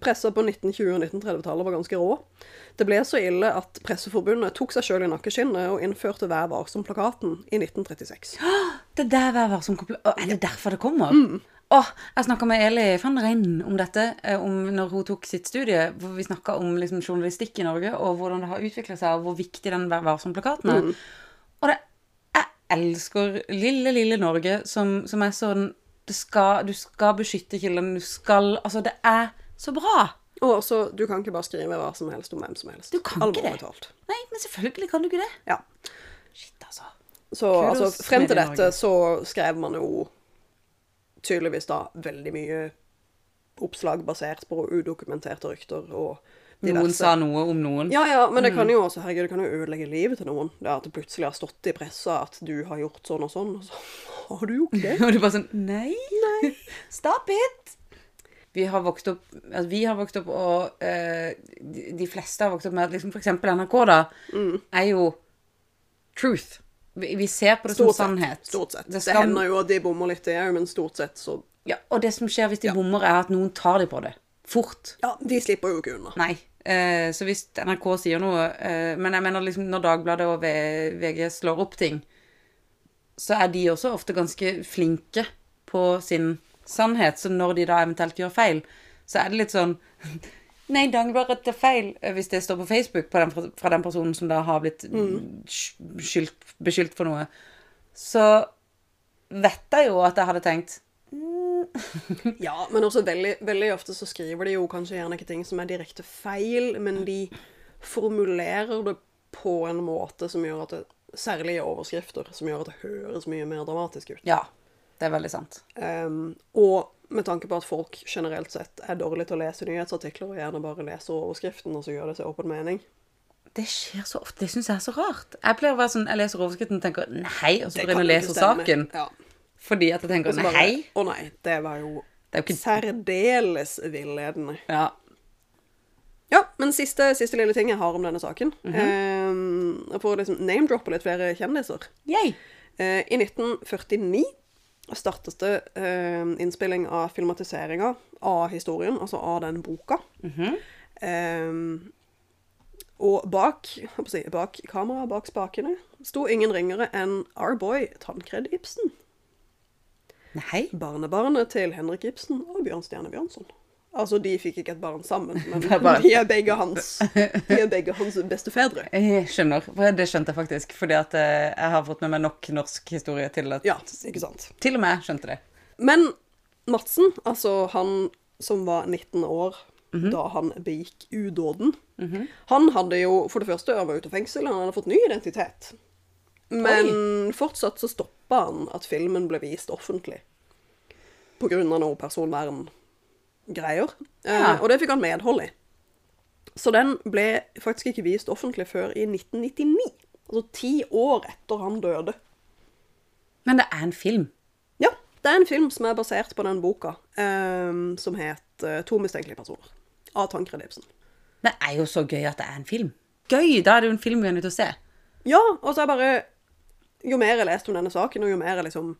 Speaker 3: pressa på 1920- og 1930-tallet var ganske rå. Det ble så ille at Presseforbundet tok seg sjøl i nakkeskinnet og innførte Vær varsom-plakaten i 1936.
Speaker 2: Det der var var som kompl- Å, Er det derfor det kommer? Åh, jeg snakka med Eli van Rein om dette eh, om når hun tok sitt studie. hvor Vi snakka om liksom, journalistikk i Norge, og hvordan det har utvikla seg, og hvor viktig den Vær varsom-plakaten er. Og det, jeg elsker lille, lille Norge, som, som er sånn det skal, Du skal beskytte kilden, du skal Altså, det er så bra!
Speaker 3: Og også, du kan ikke bare skrive hva som helst om hvem som helst.
Speaker 2: Du kan ikke
Speaker 3: Alvorlig
Speaker 2: det.
Speaker 3: talt.
Speaker 2: Nei, men selvfølgelig kan du ikke det.
Speaker 3: Ja.
Speaker 2: Shit, altså.
Speaker 3: Så
Speaker 2: Kudos,
Speaker 3: altså, frem til
Speaker 2: Medie-Norge.
Speaker 3: dette så skrev man jo tydeligvis da veldig mye oppslag basert på udokumenterte rykter og
Speaker 2: Noen sa noe om noen.
Speaker 3: Ja, ja, men det
Speaker 2: Mm.
Speaker 3: kan jo også, herregud, det kan jo ødelegge livet til noen. Det at det plutselig har stått i pressa at du har gjort sånn og sånn, og så har du gjort det.
Speaker 2: Og du bare sånn Nei! Stop it! Vi har vokst opp, altså, vi har vokst opp og eh, de, de fleste har vokst opp med at liksom, for eksempel NRK da,
Speaker 3: Mm.
Speaker 2: er jo truth. Vi, vi ser på det
Speaker 3: Stort
Speaker 2: som
Speaker 3: sett.
Speaker 2: sannhet.
Speaker 3: Stort sett.
Speaker 2: Det
Speaker 3: Det,
Speaker 2: skal-
Speaker 3: hender jo at de bommer litt, det òg, men stort sett så
Speaker 2: Ja, og det som skjer hvis de bommer, er at noen tar dem på det. Fort.
Speaker 3: Ja, de slipper jo ikke unna.
Speaker 2: Nei. Eh, så hvis NRK sier noe eh, Men jeg mener liksom når Dagbladet og V- VG slår opp ting, så er de også ofte ganske flinke på sin sannhet. Så når de da eventuelt gjør feil, så er det litt sånn Nei, Dagbladet tar feil. eh, Hvis det står på Facebook på den, fra- fra den personen som da har blitt sk- skyldt, beskyldt for noe, så vet jeg jo at jeg hadde tenkt Mm.
Speaker 3: Ja, men også veldig, veldig ofte så skriver de jo kanskje gjerne ikke ting som er direkte feil, men de formulerer det på en måte som gjør at det Særlig i overskrifter, som gjør at det høres mye mer dramatisk ut.
Speaker 2: Ja, det er veldig sant.
Speaker 3: Ehm, og med tanke på at folk generelt sett er dårlige til å lese nyhetsartikler, og gjerne bare leser overskriften, og så gjør det seg åpen mening.
Speaker 2: Det skjer så ofte. Det syns jeg er så rart. Jeg pleier å være sånn, jeg leser overskriften og tenker nei, og så
Speaker 3: Det
Speaker 2: går jeg inn
Speaker 3: kan
Speaker 2: og
Speaker 3: ikke
Speaker 2: leser
Speaker 3: stemme.
Speaker 2: saken.
Speaker 3: Ja.
Speaker 2: Fordi at jeg tenker
Speaker 3: Og så
Speaker 2: nei.
Speaker 3: bare, Å nei, det var jo
Speaker 2: Det er jo ikke
Speaker 3: særdeles villedende.
Speaker 2: ja.
Speaker 3: Ja, men siste, siste lille ting jeg har om denne saken.
Speaker 2: Mhm.
Speaker 3: eh, for å liksom name-droppe litt flere kjendiser.
Speaker 2: Yay!
Speaker 3: Eh, I 1949 startet det eh, innspilling av filmatiseringa av historien, altså av den boka.
Speaker 2: Mhm.
Speaker 3: Eh, og bak, jeg holdt på å si, bak kameraet, bak spakene, sto ingen ringere enn our boy Tankred Ibsen.
Speaker 2: Nei.
Speaker 3: Barnebarnet til Henrik Ibsen og Bjørn Stjerne Bjørnson. Altså, de fikk ikke et barn sammen, men
Speaker 2: Det er bare-
Speaker 3: de er begge hans, de er begge hans bestefedre.
Speaker 2: Jeg skjønner. for Det skjønte jeg faktisk. Fordi at eh, jeg har fått med meg nok norsk historie til at
Speaker 3: Ja, ikke sant?
Speaker 2: Til og med jeg skjønte det.
Speaker 3: Men Madsen, altså han som var 19 år da han begikk udåden Han hadde jo for det første han var ute av fengsel, han hadde fått ny identitet. Men fortsatt så stoppa han at filmen ble vist offentlig. På grunn av noe personverngreier.
Speaker 2: Ja.
Speaker 3: Eh, og det fikk han medhold i. Så den ble faktisk ikke vist offentlig før i 1999. Altså ti år etter han døde.
Speaker 2: Men det er en film.
Speaker 3: Ja, det er en film som er basert på den boka, ehm, som het eh, To mistenkelige personer, av Tankred Ibsen.
Speaker 2: Det er jo så gøy at det er en film. Gøy! Da er det jo en film vi er nødt til å se.
Speaker 3: Ja, og så er bare Jo mer jeg leste om denne saken, og jo mer jeg liksom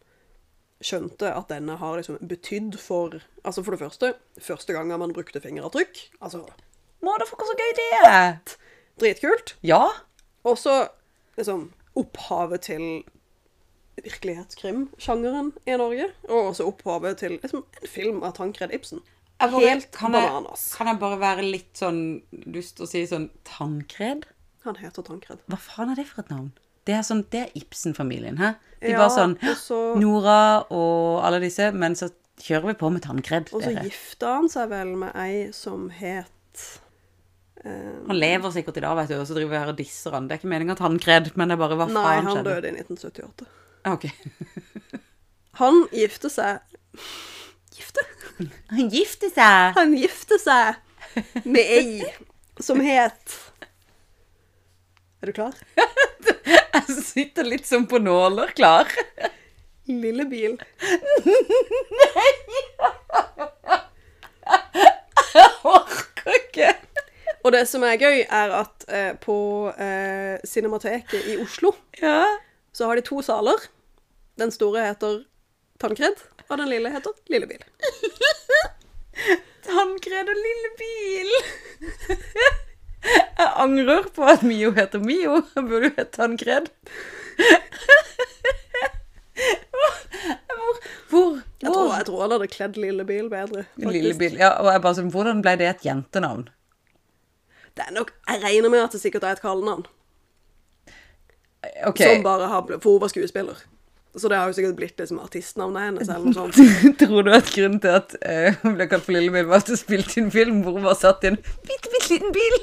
Speaker 3: skjønte at denne har liksom betydd for Altså for det første, første gangen man brukte fingeravtrykk. Altså,
Speaker 2: Motherfucker, så gøy det er!
Speaker 3: dritkult.
Speaker 2: Ja.
Speaker 3: Og så liksom opphavet til virkelighetskrim-sjangeren i Norge. Og også opphavet til liksom, en film av Tankred Ibsen. Helt
Speaker 2: kan jeg,
Speaker 3: bananas.
Speaker 2: kan jeg bare være litt sånn lyst til å si sånn Tankred?
Speaker 3: Han heter Tankred.
Speaker 2: Hva faen er det for et navn? Det er, sånn, det er Ibsen-familien, hæ? De
Speaker 3: Ja,
Speaker 2: bare sånn
Speaker 3: og så-
Speaker 2: Nora og alle disse, men så kjører vi på med Eh, Tankred.
Speaker 3: Og så
Speaker 2: dere.
Speaker 3: gifta han seg vel med ei som het eh,
Speaker 2: Han lever sikkert i dag, vet du, og så driver vi her og disser han. Det er ikke meningen at han kred, men det er bare hva
Speaker 3: Nei,
Speaker 2: faen
Speaker 3: han
Speaker 2: skjedde.
Speaker 3: døde i 1978.
Speaker 2: Ah, ok.
Speaker 3: Han gifte seg Gifte?
Speaker 2: Han gifter seg!
Speaker 3: Han gifte seg med ei som het Er du klar?
Speaker 2: Jeg sitter litt som på nåler, klar.
Speaker 3: Lillebil.
Speaker 2: Orker ikke!
Speaker 3: Og det som er gøy, er at eh, på eh, Cinemateket i Oslo
Speaker 2: Ja.
Speaker 3: så har de to saler. Den store heter Tannkred, og den lille heter Lillebil.
Speaker 2: Tankred og lille bil. Jeg angrer på at Mio heter Mio. Jeg burde jo hett Tankred. Hvor, hvor,
Speaker 3: Jeg tror, jeg tror han hadde kledd Lillebil bedre. faktisk.
Speaker 2: Lillebil. Ja, og jeg bare sånn, hvordan ble det et jentenavn?
Speaker 3: Det er nok, jeg regner med at det sikkert er et kallenavn.
Speaker 2: Ok.
Speaker 3: Som bare har blitt, For hun var skuespiller. Så det har jo sikkert blitt liksom artistnavnet hennes eller noe sånt.
Speaker 2: Tror du at grunnen til at eh, hun ble kalt for Lillebil, var at hun spilte i en film hvor hun var satt i en bitte, bitte liten bil?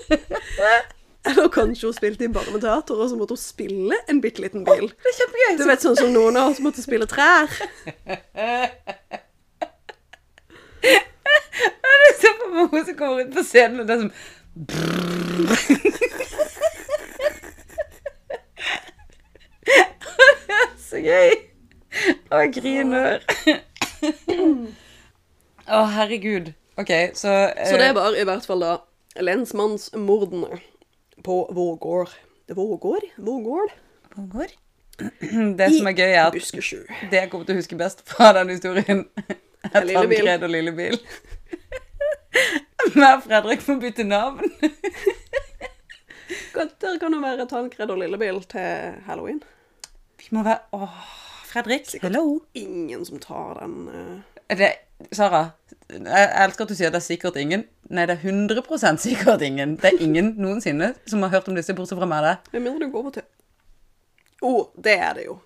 Speaker 3: Eller kanskje hun spilte i barneteater, og så måtte hun spille en bitte liten bil.
Speaker 2: Det er kjempegøy.
Speaker 3: Du vet sånn som noen av oss måtte spille trær.
Speaker 2: Men jeg ser for meg hun som kommer ut på scenen, og det er som Det er så gøy. Og jeg griner. Å, herregud. OK, så
Speaker 3: Så
Speaker 2: Eh.
Speaker 3: det var i hvert fall da lensmannsmordene på Vårgård. Vårgård? Vårgård?
Speaker 2: går? Det som er gøy, er at
Speaker 3: Buskesju.
Speaker 2: det jeg kommer til å huske best fra den historien, er
Speaker 3: Lillebil.
Speaker 2: Tankred og Lillebil. Meg og Fredrik må bytte navn.
Speaker 3: Kan- Der kan det være Tankred og Lillebil til halloween.
Speaker 2: Vi må være Åh, Fredrik. Hello.
Speaker 3: Ingen som tar den eh,
Speaker 2: Er det, Sara, jeg jeg elsker at du sier det er sikkert ingen. Nei, det er 100 sikkert ingen. Det er ingen noensinne som har hørt om disse, bortsett fra meg. og deg.
Speaker 3: Med mindre du går på te... Å, det er det jo.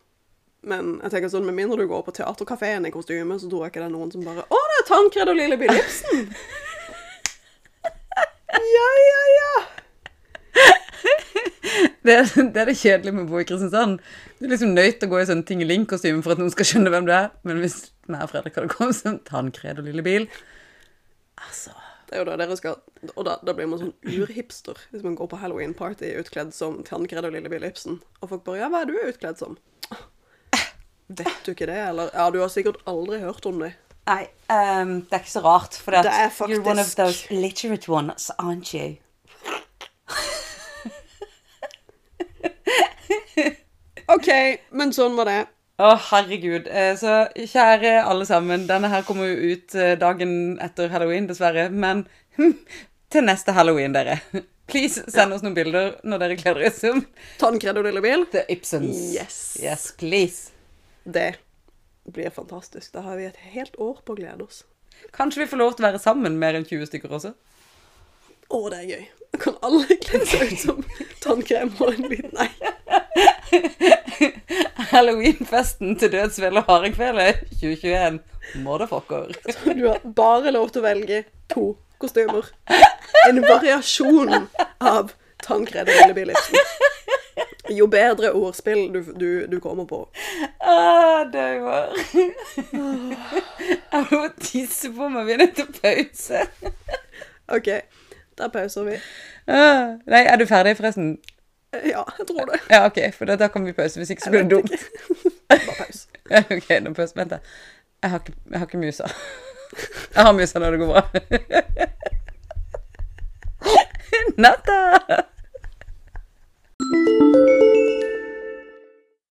Speaker 3: Men jeg tenker sånn, med mindre du går på teaterkafeen i kostyme, så tror jeg ikke det er noen som bare Å, det er Tankred og Lille Bill Ibsen! ja, ja, ja!
Speaker 2: Det, er- det er det kjedelige med å bo i Kristiansand. Du er liksom nødt til å gå i sånn tingeling-kostyme for at noen skal skjønne hvem du er. Men hvis meg og Fredrik hadde kommet som tannkred og lille bil Altså
Speaker 3: Det er jo da dere skal Og da, da blir man sånn urhipster hvis man går på halloween-party utkledd som Tankred og Lille Bill Ibsen. Og folk bare Ja, hva er du utkledd som? Vet du ikke det, eller? Ja, du har sikkert aldri hørt om det.
Speaker 2: Nei, ehm, det er ikke så rart. For at
Speaker 3: Det er
Speaker 2: you're one of
Speaker 3: faktisk-
Speaker 2: those literate ones, aren't you?
Speaker 3: OK, men sånn var det.
Speaker 2: Å, herregud. Eh, Så kjære alle sammen, denne her kommer jo ut eh, dagen etter halloween, dessverre. Men hm, til neste halloween, dere. Please send oss noen bilder når dere kler dere som
Speaker 3: Tannkred og lillebil.
Speaker 2: The Ibsens.
Speaker 3: Yes.
Speaker 2: Yes, please.
Speaker 3: Det blir fantastisk. Da har vi et helt år på å glede oss.
Speaker 2: Kanskje vi får lov til å være sammen mer enn 20 stykker også?
Speaker 3: Å, det er gøy. Da kan alle kle seg ut som tannkrem og en liten Nei.
Speaker 2: Halloweenfesten til Dødsfjell og Hardingfele 2021. Motherfucker.
Speaker 3: Du har bare lov til å velge to kostymer. En variasjon av tannkred og Lille Billipsen. Jo bedre ordspill du, du, du kommer på.
Speaker 2: Ah, dauer. Jeg må tisse på meg. Vi er nødt til pause.
Speaker 3: OK, da pauser vi.
Speaker 2: Ah, nei, er du ferdig, forresten?
Speaker 3: Ja, jeg tror det.
Speaker 2: Ja, OK, for da- da kan vi pause. Hvis ikke så blir det dumt.
Speaker 3: Bare pause.
Speaker 2: Ja, OK, da pause. Vent, da. Jeg har ikke, jeg har ikke musa. Jeg har musa når det går bra. Natta!